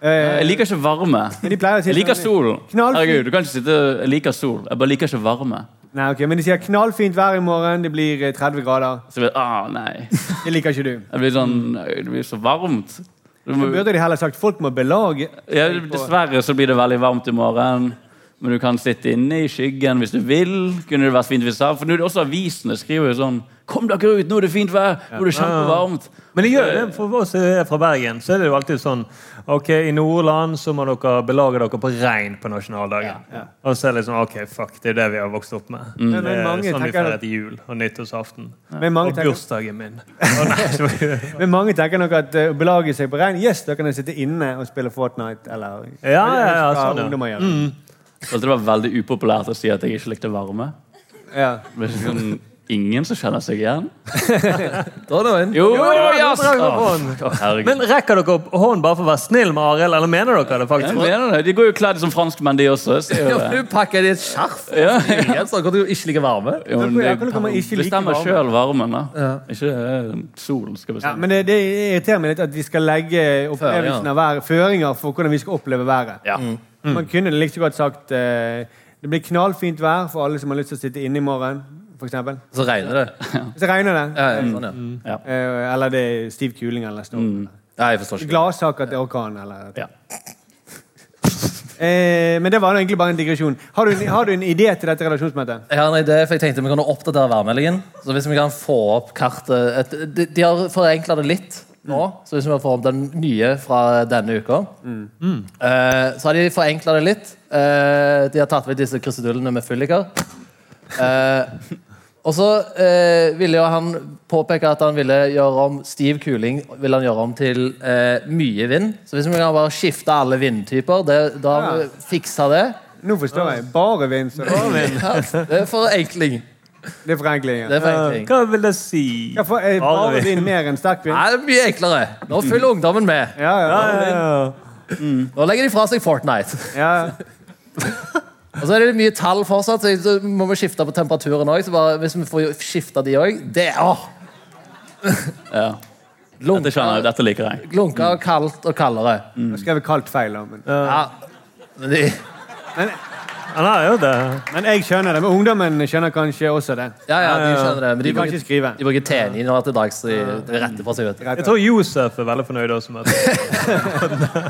Speaker 2: Eh,
Speaker 14: Jeg liker ikke varme.
Speaker 2: Men de pleier å si
Speaker 14: Jeg liker
Speaker 2: sånn-
Speaker 14: sol.
Speaker 2: Knallfint.
Speaker 14: Herregud, du kan ikke sitte Jeg liker sol. Jeg bare liker ikke varme.
Speaker 2: Nei, ok, Men de sier knallfint vær i morgen, det blir eh, 30 grader.
Speaker 14: Så jeg vet, ah, nei.
Speaker 2: Det liker ikke du.
Speaker 14: Jeg blir sånn Det blir så varmt. Du
Speaker 2: Så
Speaker 14: må,
Speaker 2: burde de heller sagt folk må belage
Speaker 14: ja, dessverre så blir det veldig varmt i morgen. Men du kan sitte inne i skyggen hvis du vil. Kunne det vært fint hvis For nå er det også avisene skriver jo sånn Kom dere ut, nå er det fint vær! Nå er det kjempevarmt.
Speaker 1: Men det gjør det. For oss som er fra Bergen, så er det jo alltid sånn Ok, i Nordland så må dere belage dere på regn på nasjonaldagen. Og så er det liksom OK, fuck, det er det vi har vokst opp med.
Speaker 2: Mm. Men-
Speaker 1: Det
Speaker 2: men
Speaker 1: er
Speaker 2: mange
Speaker 1: sånn vi
Speaker 2: tenker
Speaker 1: feirer
Speaker 2: at-
Speaker 1: jul og nyttårsaften.
Speaker 2: Men mange
Speaker 1: Og
Speaker 2: tenker-
Speaker 1: bursdagen min.
Speaker 2: Men mange tenker nok at eh, å belage seg på regn Yes, da kan jeg sitte inne og spille Fortnite eller
Speaker 1: Ja, ja, ja,
Speaker 2: Hva
Speaker 1: sånn, ja.
Speaker 2: ungdommer gjør.
Speaker 1: Mm.
Speaker 14: Jeg følte det var veldig upopulært å si at jeg ikke likte varme.
Speaker 2: Ja.
Speaker 14: Det var ikke sånn, ingen som kjenner seg igjen.
Speaker 12: Da er det en.
Speaker 14: Jo,
Speaker 1: Jo,
Speaker 14: det var
Speaker 1: ja,
Speaker 14: jazz!
Speaker 1: da drar vi opp
Speaker 14: Å,
Speaker 1: hånden.
Speaker 14: å, herregud.
Speaker 1: Men rekker dere opp hånden bare for å være snill med Arild, eller mener dere det
Speaker 14: Jeg
Speaker 1: faktisk?
Speaker 14: mener det. De går jo kledd som franskmenn, de også. så er jo
Speaker 12: Ja,
Speaker 14: det.
Speaker 12: du pakker det i et skjerf!
Speaker 14: Ja.
Speaker 12: Så kan du jo ikke like varme.
Speaker 14: Jo, men det- bestemmer sjøl varmen, da. Ikke eh, solen skal
Speaker 2: Ja,
Speaker 14: bestemme.
Speaker 2: men det, det irriterer meg litt at vi skal legge opplevelsen
Speaker 14: Føringer.
Speaker 2: av været, føringer for hvordan vi skal oppleve været.
Speaker 14: Mm.
Speaker 2: Man kunne like så godt sagt eh, det blir knallfint vær for alle som har lyst til å sitte inne i morgen. For eksempel.
Speaker 12: Så regner det.
Speaker 2: Så regner det.
Speaker 12: Ja, ja, sånn, ja.
Speaker 14: Mm.
Speaker 2: Eh, eller det er stiv kuling eller storm.
Speaker 12: Nei, jeg forstår ikke.
Speaker 2: Gladsak at det er orkan eller eh, Men det var nå egentlig bare en digresjon. Har du, en- har du en idé til dette relasjonsmøtet?
Speaker 12: Jeg har en idé, for jeg tenkte vi kan oppdatere værmeldingen. Så hvis vi kan få opp kartet et, de, de har forenkla det litt nå. Så hvis vi får opp den nye fra denne uka eh, Så har de forenkla det litt. Eh, de har tatt vekk disse krusedullene med fylliker. Eh, og så eh, ville jo han påpeke at han ville gjøre om stiv kuling ville han gjøre om til eh, mye vind. Så hvis vi kan bare skifte alle vindtyper, det, da har vi fiksa det.
Speaker 2: Nå forstår jeg. Bare vind. så-
Speaker 12: Ja, det er forenkling.
Speaker 2: Det er forenkling. ja.
Speaker 12: Det er forenkling.
Speaker 1: Eh, Hva vil det si?
Speaker 2: Ja, for er barvin mer enn sterkvin?
Speaker 12: Nei, det er mye enklere. Nå følger ungdommen med. Nå legger de fra seg Fortnite. Og så er det mye tall fortsatt, så så må vi skifte på temperaturen òg. Hvis vi får skifta de òg Det åh!
Speaker 14: Ja. Dette skjønner jeg. Dette liker jeg.
Speaker 12: Glunka og kaldt og kaldere.
Speaker 2: Nå skrev jeg kaldt feil, da. Men,
Speaker 12: ja. men de...
Speaker 1: Han har jo det.
Speaker 2: Men jeg skjønner det. Men ungdommen skjønner kanskje også det.
Speaker 12: Ja, ja, de skjønner det. Men de,
Speaker 2: de kan ikke skrive.
Speaker 12: De bruker TNI nå til dags. så De, de retter for seg, vet
Speaker 1: Jeg tror Josef er veldig fornøyd også med det.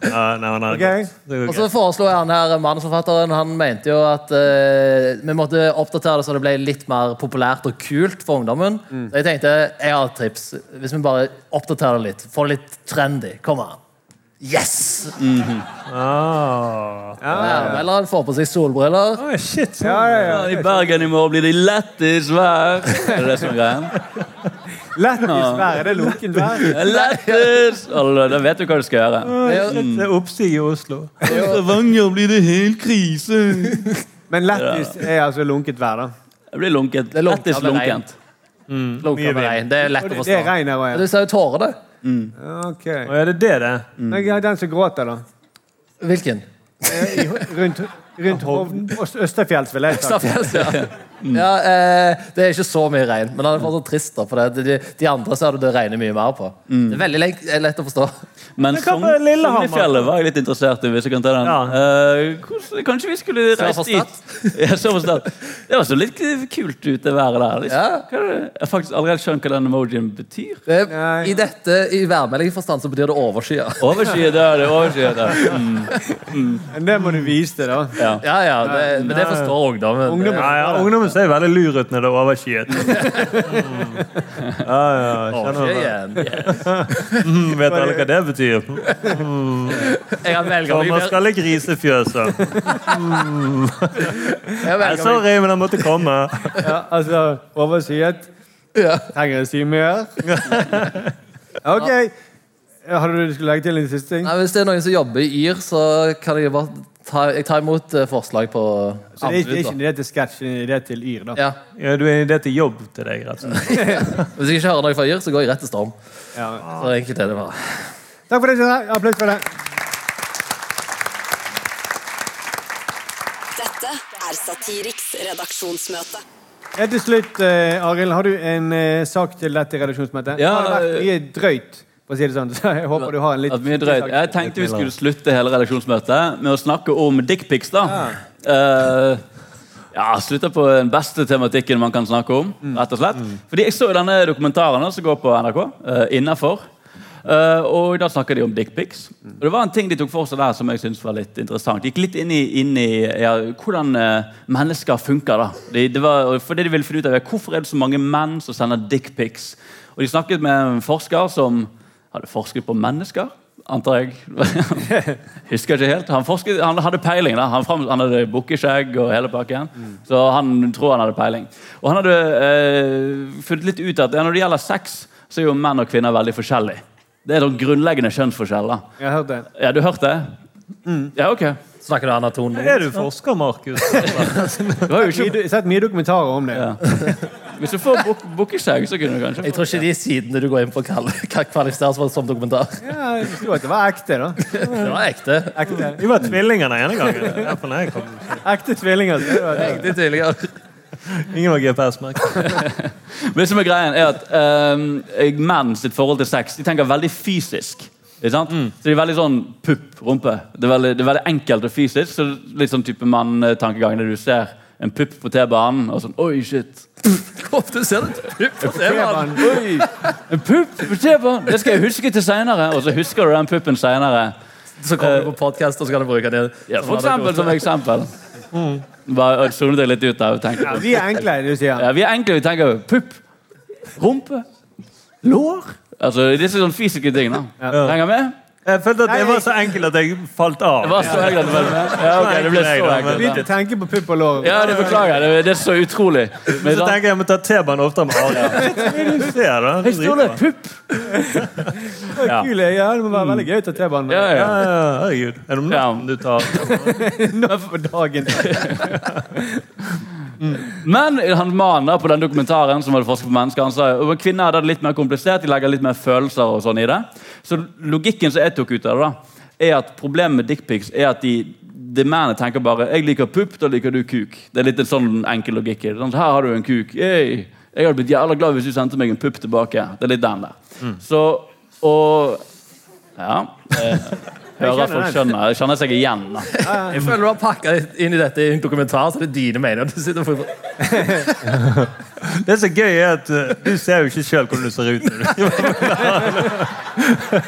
Speaker 1: Ja, nei, han er
Speaker 12: Ok.
Speaker 1: godt. Det går
Speaker 12: Og
Speaker 1: greit.
Speaker 12: så foreslo han her manusforfatteren Han mente jo at eh, vi måtte oppdatere det så det ble litt mer populært og kult for ungdommen. Så jeg tenkte jeg har et trips. Hvis vi bare oppdaterer det litt, får det litt trendy. Kom an. Yes! Mhm. Ja, Eller han får på seg solbriller.
Speaker 14: I Bergen i morgen blir det lættis vær. Er det det som er greia?
Speaker 2: Lættis vær. Er det lunkent vær?
Speaker 14: Lættis! Alle, Da vet du hva du skal gjøre. Mm.
Speaker 1: Det er oppsig i Oslo.
Speaker 2: Stavanger blir det helt krise. Men lættis er altså lunket vær, da.
Speaker 14: Det blir lunkent.
Speaker 12: Det er lunket,
Speaker 14: Lættis
Speaker 12: det er regn.
Speaker 14: lunkent.
Speaker 12: Lunker med regn. Det er lett å forstå.
Speaker 2: Det er regn her òg,
Speaker 12: Men Du
Speaker 2: ja.
Speaker 12: ser jo tårene.
Speaker 2: Ok.
Speaker 1: Å, ja, det er det det er.
Speaker 2: Men jeg har den som gråter, da.
Speaker 12: Hvilken?
Speaker 2: Eh, i ho- Rundt, rundt Hovden. Øst- Østerfjells, vil jeg si.
Speaker 12: Østafjells, ja. ja eh, det er ikke så mye regn, men han er fortsatt trist. da, for det. De, de andre ser du det regner mye mer på. Det er veldig lenk- eh, lett å forstå.
Speaker 14: Men
Speaker 12: Men hva med
Speaker 14: Sogn-
Speaker 12: Lillehammer?
Speaker 14: Sognefjellet var jeg litt interessert i. hvis jeg kan ta den. Eh, hvordan, kanskje vi skulle
Speaker 12: Sør
Speaker 14: reist
Speaker 12: for
Speaker 14: dit? Ja, sør for Stad. Det var så litt kult ut, det været der. Liksom.
Speaker 12: Ja.
Speaker 14: Hva er det? Jeg har faktisk allerede skjønt hva den emojien betyr.
Speaker 12: Det, I dette, i værmeldingen forstand så betyr det overskya.
Speaker 14: Overskyet der, det er overskyet der. Mm.
Speaker 2: Men det må du vise til, da.
Speaker 14: Ja.
Speaker 12: Ja, ja, det, men det forstår ungdommen.
Speaker 1: Ungdommen, ja, ja, ungdommen ser veldig lur ut når det er overskyet. Mm. Ja, ja, skjønner
Speaker 12: Overskyet
Speaker 1: du det?
Speaker 12: igjen. Yes.
Speaker 1: Mm, vet alle hva det betyr? Mm.
Speaker 12: Jeg har velget meg
Speaker 1: Sommer
Speaker 12: mer-
Speaker 1: skal i grisefjøset. Mm.
Speaker 12: Jeg
Speaker 1: Nei,
Speaker 12: velger meg-
Speaker 1: Sorry, men han måtte komme.
Speaker 2: Ja, altså, overskyet. Trenger jeg å si mer? OK. Har du du skulle legge til en siste ting?
Speaker 12: Nei, hvis det er noen som jobber i Yr, så kan jeg bare ta, jeg tar imot eh, forslag på
Speaker 2: Så det er ikke, det er
Speaker 12: anbud.
Speaker 2: ikke en idé til sketsj, en idé til Yr, da.
Speaker 12: da. Ja.
Speaker 1: Ja, du er en idé til jobb til deg, rett og slett.
Speaker 12: Hvis jeg ikke hører noe fra Yr, så går jeg rett til Storm.
Speaker 2: Ja.
Speaker 12: Så enkelt er det bare.
Speaker 2: Takk for det. Kjenne. Applaus for det.
Speaker 4: Dette er Satiriks redaksjonsmøte.
Speaker 2: Helt til slutt, eh, Arild, har du en eh, sak til dette redaksjonsmøtet?
Speaker 14: Ja,
Speaker 2: det har vært mye drøyt, for å si det sånn. Så jeg håper du har en litt
Speaker 14: At mye drøyt. Jeg tenkte vi skulle slutte hele redaksjonsmøtet med å snakke om dickpics. da. Eh, ja, slutte på den beste tematikken man kan snakke om. rett og slett. Fordi Jeg så jo denne dokumentaren da, som går på NRK, uh, innafor. og da snakker de om dickpics. Og det var en ting de tok for seg der som jeg synes var litt interessant. De gikk litt inn i, inn i ja, hvordan eh, mennesker funker. da. De, det var, og for det de ville finne ut av er, Hvorfor er det så mange menn som sender dickpics? Og de snakket med en forsker som hadde forsket på mennesker, antar jeg. Husker ikke helt. Han, forsket, han hadde peiling. da. Han, fram, han hadde bukkeskjegg og hele pakken. Så han tror han hadde peiling. Og han hadde eh, funnet litt ut at ja, når det gjelder sex, så er jo menn og kvinner veldig forskjellige. Det er da grunnleggende kjønnsforskjell. da.
Speaker 2: Jeg har hørt det.
Speaker 14: Ja, du hørte det? Ja, ok.
Speaker 12: Snakker du anaton?
Speaker 1: Er du forsker, Markus?
Speaker 14: Det var jo
Speaker 2: Mye
Speaker 14: ikke...
Speaker 2: do- Jeg har sett mye dokumentarer om det.
Speaker 14: Hvis du får buk bukkeskjegg, så kunne du kanskje
Speaker 12: Jeg tror ikke de sidene du går inn på, kan kan kvalifiseres for- som dokumentar.
Speaker 2: Ja, jeg forsto at det var ekte, da.
Speaker 12: Det var ekte.
Speaker 2: Ekte,
Speaker 1: Vi var tvillinger den ene gangen. Derfor når jeg kom.
Speaker 2: ekte tvillinger. så det var det.
Speaker 12: Ekte tidligere.
Speaker 1: Ingen var GPS-merket.
Speaker 14: Men det som er greien er at eh, menn sitt forhold til sex De tenker veldig fysisk. Ikke sant? Så de er veldig sånn pupp, rumpe. Det er veldig, det er veldig enkelt og fysisk. Så litt sånn type mann-tankegang når du ser en pupp på T-banen og sånn Oi, shit.
Speaker 12: Ofte ser du pupp. Det var
Speaker 2: T-banen.
Speaker 14: Oi, en pupp på T-banen! Det skal jeg huske til seinere. Og så husker du den puppen seinere.
Speaker 12: Så kommer du på podkast, og så kan du bruke det.
Speaker 14: Ja, for eksempel som eksempel. Bare øh, zonet deg litt ut der. og tenkte
Speaker 2: Ja,
Speaker 14: på-
Speaker 2: vi er enkle, du sier.
Speaker 14: Ja, vi er enkle. Vi tenker pupp, rumpe, lår. Altså disse sånn fysiske tingene. Henger med?
Speaker 1: Jeg følte at det var så enkelt at jeg falt av.
Speaker 14: Det var så enkelt, men- ja, ok, det ble så enkelt.
Speaker 1: Begynte
Speaker 14: Begynte
Speaker 1: å
Speaker 2: tenke på pupp og lår.
Speaker 14: Ja, det beklager jeg. Det, det er så utrolig.
Speaker 1: Men så tenker jeg jeg må ta T-banen oftere med Arild. Se her, da.
Speaker 2: Jeg står der,
Speaker 1: pupp!
Speaker 2: Ja. Kul, ja. Det må være veldig gøy å ta T-banen.
Speaker 1: Ja, ja. Herregud. Er det om natten du tar
Speaker 2: Nå for dagen.
Speaker 14: Men han maner på den dokumentaren som hadde forsket på mennesker. Han sa at kvinner hadde det litt mer komplisert, de legger litt mer følelser og sånn i det. Så logikken som jeg tok ut av det, da, er at problemet med dickpics er at de de mennene tenker bare 'jeg liker pupp, da liker du kuk'. Det er litt en sånn enkel logikk. i det. Sånn, her har du en kuk. Yay. Jeg hadde blitt jævla glad hvis du sendte meg en pupp tilbake. Det er litt den der. Så, og Ja. eh, Hører
Speaker 12: Jeg kjenner
Speaker 14: folk
Speaker 12: den.
Speaker 14: skjønner. Kjenner seg igjen. da.
Speaker 12: Jeg føler du har pakka inn i dette i en dokumentar, så det er dine meninger du sitter for.
Speaker 1: Det som er gøy, er at eh, du ser jo ikke sjøl hvordan du ser ut. når du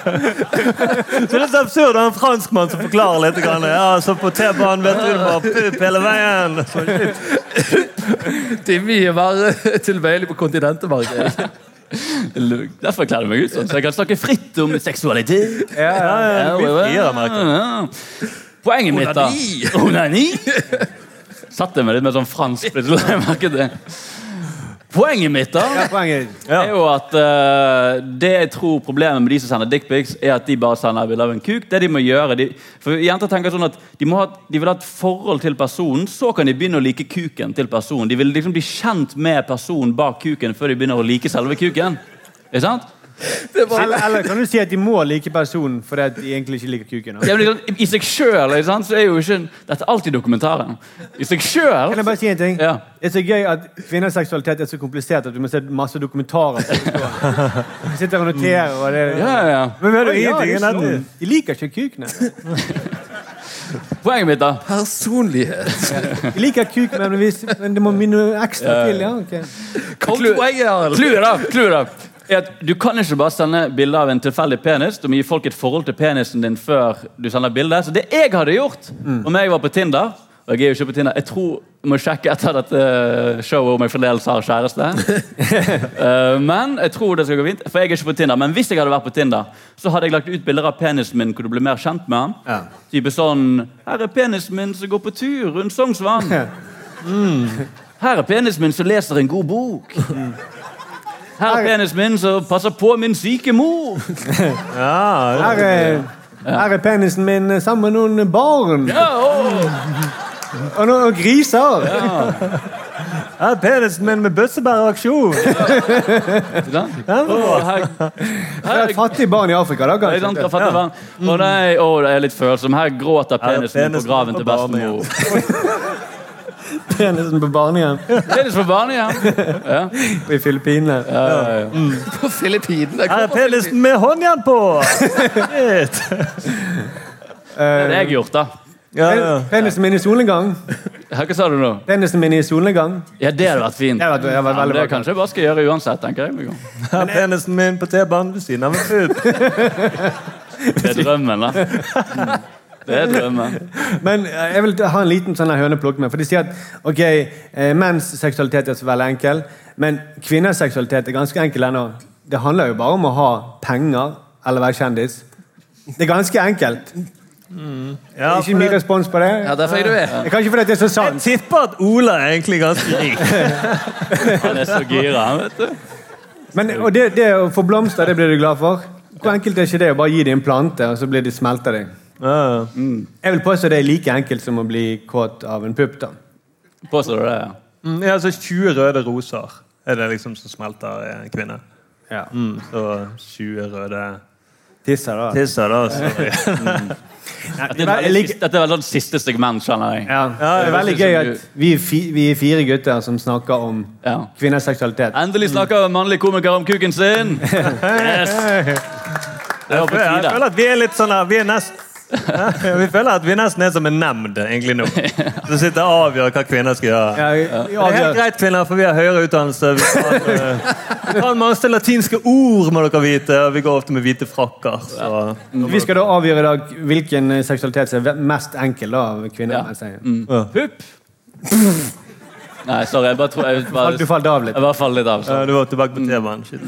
Speaker 1: så det er så absurd å ha en franskmann som forklarer litt. Grann. Ja, så på T-banen vet du det var pupp hele veien. Så,
Speaker 12: Det er mye mer tilbøyelig på kontinentet, Marge.
Speaker 14: Lugg. Derfor kler jeg meg ut sånn, så jeg kan snakke fritt om seksualitet. Ja,
Speaker 12: ja, du blir friere,
Speaker 14: ja. Poenget mitt, da
Speaker 12: Onani.
Speaker 14: Onani! Satt jeg meg litt mer sånn fransk plutselig. Jeg merket det. Poenget mitt da er jo at eh, det jeg tror problemet med de som sender dickpics, er at de bare sender bilde av en kuk. Det de må gjøre de, For jenter tenker sånn at de, må ha, de vil ha et forhold til personen, så kan de begynne å like kuken til personen. De vil liksom bli kjent med personen bak kuken før de begynner å like selve kuken. Ikke sant?
Speaker 2: Eller, eller kan du si at de må like personen fordi at de egentlig ikke liker kuken? da?
Speaker 14: Ja, men liksom, I seg sjøl så er jo ikke Dette er alltid dokumentaren. I seg sjøl
Speaker 2: Kan jeg bare si en ting? Det er så gøy at kvinners seksualitet er så komplisert at du må se masse dokumentarer. for å forstå. Du sitter og noterer og det
Speaker 14: Ja, ja, ja.
Speaker 2: Men vi hadde
Speaker 14: Å, ja,
Speaker 2: ingenting
Speaker 14: det er
Speaker 2: i nettet.
Speaker 14: sånn.
Speaker 2: De liker ikke altså. kukene.
Speaker 14: Poenget mitt, da.
Speaker 12: Personlighet.
Speaker 2: De liker kuk, men, hvis, men det må minne ekstra
Speaker 14: Ja, ja.
Speaker 2: til. Ja, ok.
Speaker 14: Clouet, da, clouet da, er at du kan ikke bare sende bilde av en tilfeldig penis. Du må gi folk et forhold til penisen din før du sender bilde. Så det jeg hadde gjort om jeg var på Tinder og jeg er jo ikke på Tinder, jeg tror jeg må sjekke etter dette showet om jeg fremdeles har kjæreste. Eh, men jeg tror det skal gå fint, for jeg er ikke på Tinder. Men hvis jeg hadde vært på Tinder, så hadde jeg lagt ut bilder av penisen min hvor du ble mer kjent med han. Type sånn 'Her er penisen min som går på tur rundt Sognsvann'. Mm. Her er penisen min som leser en god bok. Her er penisen min som passer på min syke mor.
Speaker 2: Her er, her er penisen min sammen med noen barn.
Speaker 14: Ja,
Speaker 2: Og noen griser.
Speaker 1: Her er penisen min med bøssebæraksjon.
Speaker 14: Å, her-
Speaker 2: Det er et fattig barn i Afrika, da.
Speaker 14: Ikke sant, hva fatter
Speaker 2: kanskje.
Speaker 14: man? Å nei, å, det er litt følsom. Her gråter
Speaker 2: Her er
Speaker 14: penisen min på
Speaker 2: penisen
Speaker 14: graven
Speaker 2: på
Speaker 14: til bestemor.
Speaker 2: Penisen på barnehjem.
Speaker 14: Penis på barnehjem. Ja.
Speaker 2: I Filippinene. Mm.
Speaker 12: På Filippinene.
Speaker 1: Her er penisen med håndjern på! Shit.
Speaker 14: Det har jeg gjort, da.
Speaker 2: Pen- Penisen min i solnedgang.
Speaker 14: Her, Hva sa du nå?
Speaker 2: Penisen min i solnedgang.
Speaker 14: Ja, det hadde vært fint.
Speaker 2: Det hadde vært- det hadde vært
Speaker 14: Ja, men
Speaker 2: veldig
Speaker 14: det
Speaker 2: bra.
Speaker 14: kanskje jeg bare skal gjøre uansett, tenker jeg.
Speaker 1: Her er penisen min på T-banen ved siden av en pupp.
Speaker 14: Det er drømmen, da. Mm. Det er drømmen.
Speaker 2: Men eh, jeg vil ha en liten sånn her høneplukk med. For de sier at ok, eh, menns seksualitet er så veldig enkel, men kvinners seksualitet er ganske enkel ennå. Det handler jo bare om å ha penger eller være kjendis. Det er ganske enkelt. det er ikke mye respons på det.
Speaker 12: Ja, derfor er du med.
Speaker 2: Det er kanskje fordi det er så sant.
Speaker 1: Jeg tipper at Ola er egentlig ganske rik.
Speaker 14: Han er så gira, han, vet du.
Speaker 2: Men, og det, det å få blomster, det blir du glad for. Hvor enkelt er ikke det å bare gi dem en plante, og så blir de smelta deg? Jeg vil påstå det er like enkelt som å bli kåt av en pupp. da.
Speaker 14: Påstår du det? ja?
Speaker 1: Mm, ja, altså 20 røde roser er det liksom som smelter eh, kvinner. Mm, så 20 røde
Speaker 2: Tisser, da.
Speaker 1: Tisser, da, sorry.
Speaker 14: Dette er veldig siste- dette er veldig sånn siste segment, skjønner jeg.
Speaker 2: Ja, det er veldig gøy at vi, er fi, vi er fire gutter som snakker om kvinners seksualitet.
Speaker 14: Endelig snakker en mannlig komiker om kuken sin! Yes. Det var på
Speaker 1: Jeg føler, jeg føler
Speaker 14: tide.
Speaker 1: at vi er litt sånn her, vi er nest ja, vi føler at vi nesten er som en nemnd egentlig nå. Som sitter og avgjør hva kvinner skal gjøre.
Speaker 2: Ja, vi
Speaker 1: Det er helt
Speaker 2: avgjør.
Speaker 1: greit, kvinner, for vi har høyere utdannelse. Vi kan, eh, vi kan masse latinske ord, må dere vite. Og vi går ofte med hvite frakker. Så.
Speaker 2: Vi skal da avgjøre i dag hvilken seksualitet som er mest enkel da, av kvinner. Ja.
Speaker 1: Ja.
Speaker 2: Pupp!
Speaker 14: Mm. Nei, sorry. Jeg bare tror jeg bare,
Speaker 2: Du falt av litt.
Speaker 14: Jeg bare falt litt av.
Speaker 1: Ja, eh, du var tilbake på temaet. Shit.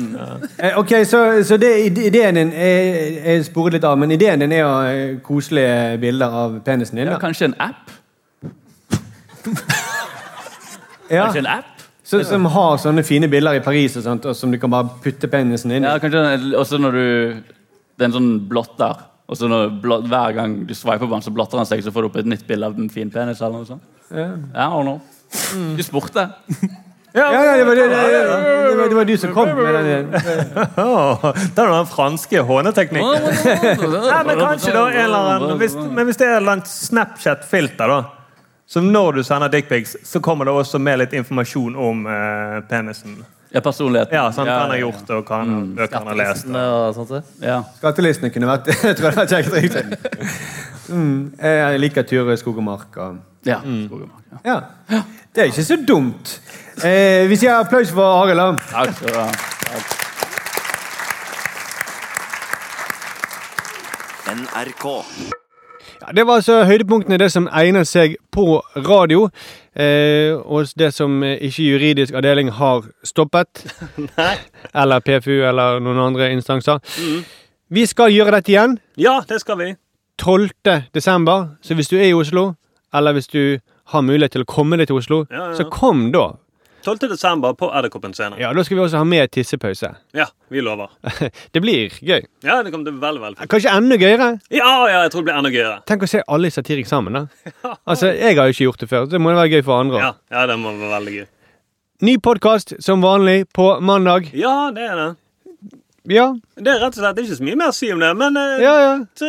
Speaker 2: Eh, Ok, så, så det, ide- ideen din Jeg, jeg sporet litt av, men ideen din er jo eh, koselige bilder av penisen din.
Speaker 14: Ja,
Speaker 2: Da.
Speaker 14: kanskje en app?
Speaker 2: Ja.
Speaker 14: Kanskje en app?
Speaker 2: Så, som har sånne fine bilder i Paris og sånt, og som du kan bare putte penisen inn i.
Speaker 14: Ja, kanskje den- også når du Det er en sånn blotter. Og så når blot, hver gang du sveiper på den, så blotter han seg, så får du opp et nytt bilde av en fin penis. eller noe sånt.
Speaker 2: Ja.
Speaker 14: Ja, I don't know. Du spurte.
Speaker 2: Ja, ja, det, var, det, det, det, var, det var du som kom med den.
Speaker 1: Oh, det er den franske håneteknikken. Nei, men kanskje da en eller annen hvis, Men hvis det er et eller annet Snapchat-filter, da Som når du sender dickpics, så kommer det også med litt informasjon om eh, penisen.
Speaker 14: Ja, personligheten.
Speaker 1: Ja, sånn,
Speaker 14: Ja,
Speaker 1: hva han har
Speaker 14: ja, ja.
Speaker 1: gjort, og hva han,
Speaker 3: Mm.
Speaker 1: bøker han har lest.
Speaker 2: Skattelistene kunne vært Jeg tror det var kjekt. riktig. Mm, jeg liker Ture skog og mark. Og...
Speaker 14: Ja,
Speaker 2: Mm.
Speaker 14: skog og mark,
Speaker 2: ja. Det er ikke så dumt. Eh, vi sier applaus for Arild. da.
Speaker 14: Takk skal du ha.
Speaker 15: NRK.
Speaker 2: Ja, det var altså høydepunktene, det som egner seg på radio. Eh, og det som eh, ikke juridisk avdeling har stoppet. eller PFU eller noen andre instanser.
Speaker 3: Mm.
Speaker 2: Vi skal gjøre dette igjen
Speaker 3: Ja, det skal vi.
Speaker 2: 12. desember. Så hvis du er i Oslo, eller hvis du har mulighet til å komme deg til Oslo,
Speaker 3: Ja, ja.
Speaker 2: så kom da.
Speaker 3: 12. desember på Edderkoppen scene.
Speaker 2: Ja, Da skal vi også ha med tissepause.
Speaker 3: Ja, vi lover.
Speaker 2: det blir gøy.
Speaker 3: Ja, det kommer til å bli veldig, veldig fint.
Speaker 2: Kanskje enda gøyere.
Speaker 3: Ja, ja, jeg tror det blir enda gøyere.
Speaker 2: Tenk å se alle i Satirik sammen. da. Altså, Jeg har jo ikke gjort det før, så det må jo være gøy for andre. også.
Speaker 3: Ja, ja det må være veldig gøy.
Speaker 2: Ny podkast som vanlig på mandag.
Speaker 3: Ja, det er det.
Speaker 2: Ja.
Speaker 3: Det er rett og slett ikke så mye mer å si om det, men eh,
Speaker 2: Ja, ja.
Speaker 3: så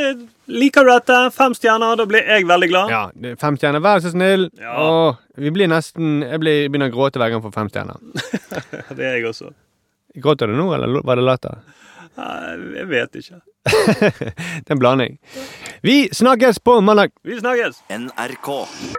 Speaker 3: liker du dette, fem stjerner, da blir jeg veldig glad.
Speaker 2: Ja, det er Fem stjerner, vær så snill. Åh, vi blir nesten Jeg blir, begynner å gråte hver gang for fem stjerner.
Speaker 3: Det er jeg også.
Speaker 2: Gråter du nå, eller lo- var det latter?
Speaker 3: Nei, Jeg vet ikke.
Speaker 2: Det er en blanding. Vi snakkes på mandag.
Speaker 3: Vi snakkes!
Speaker 15: NRK.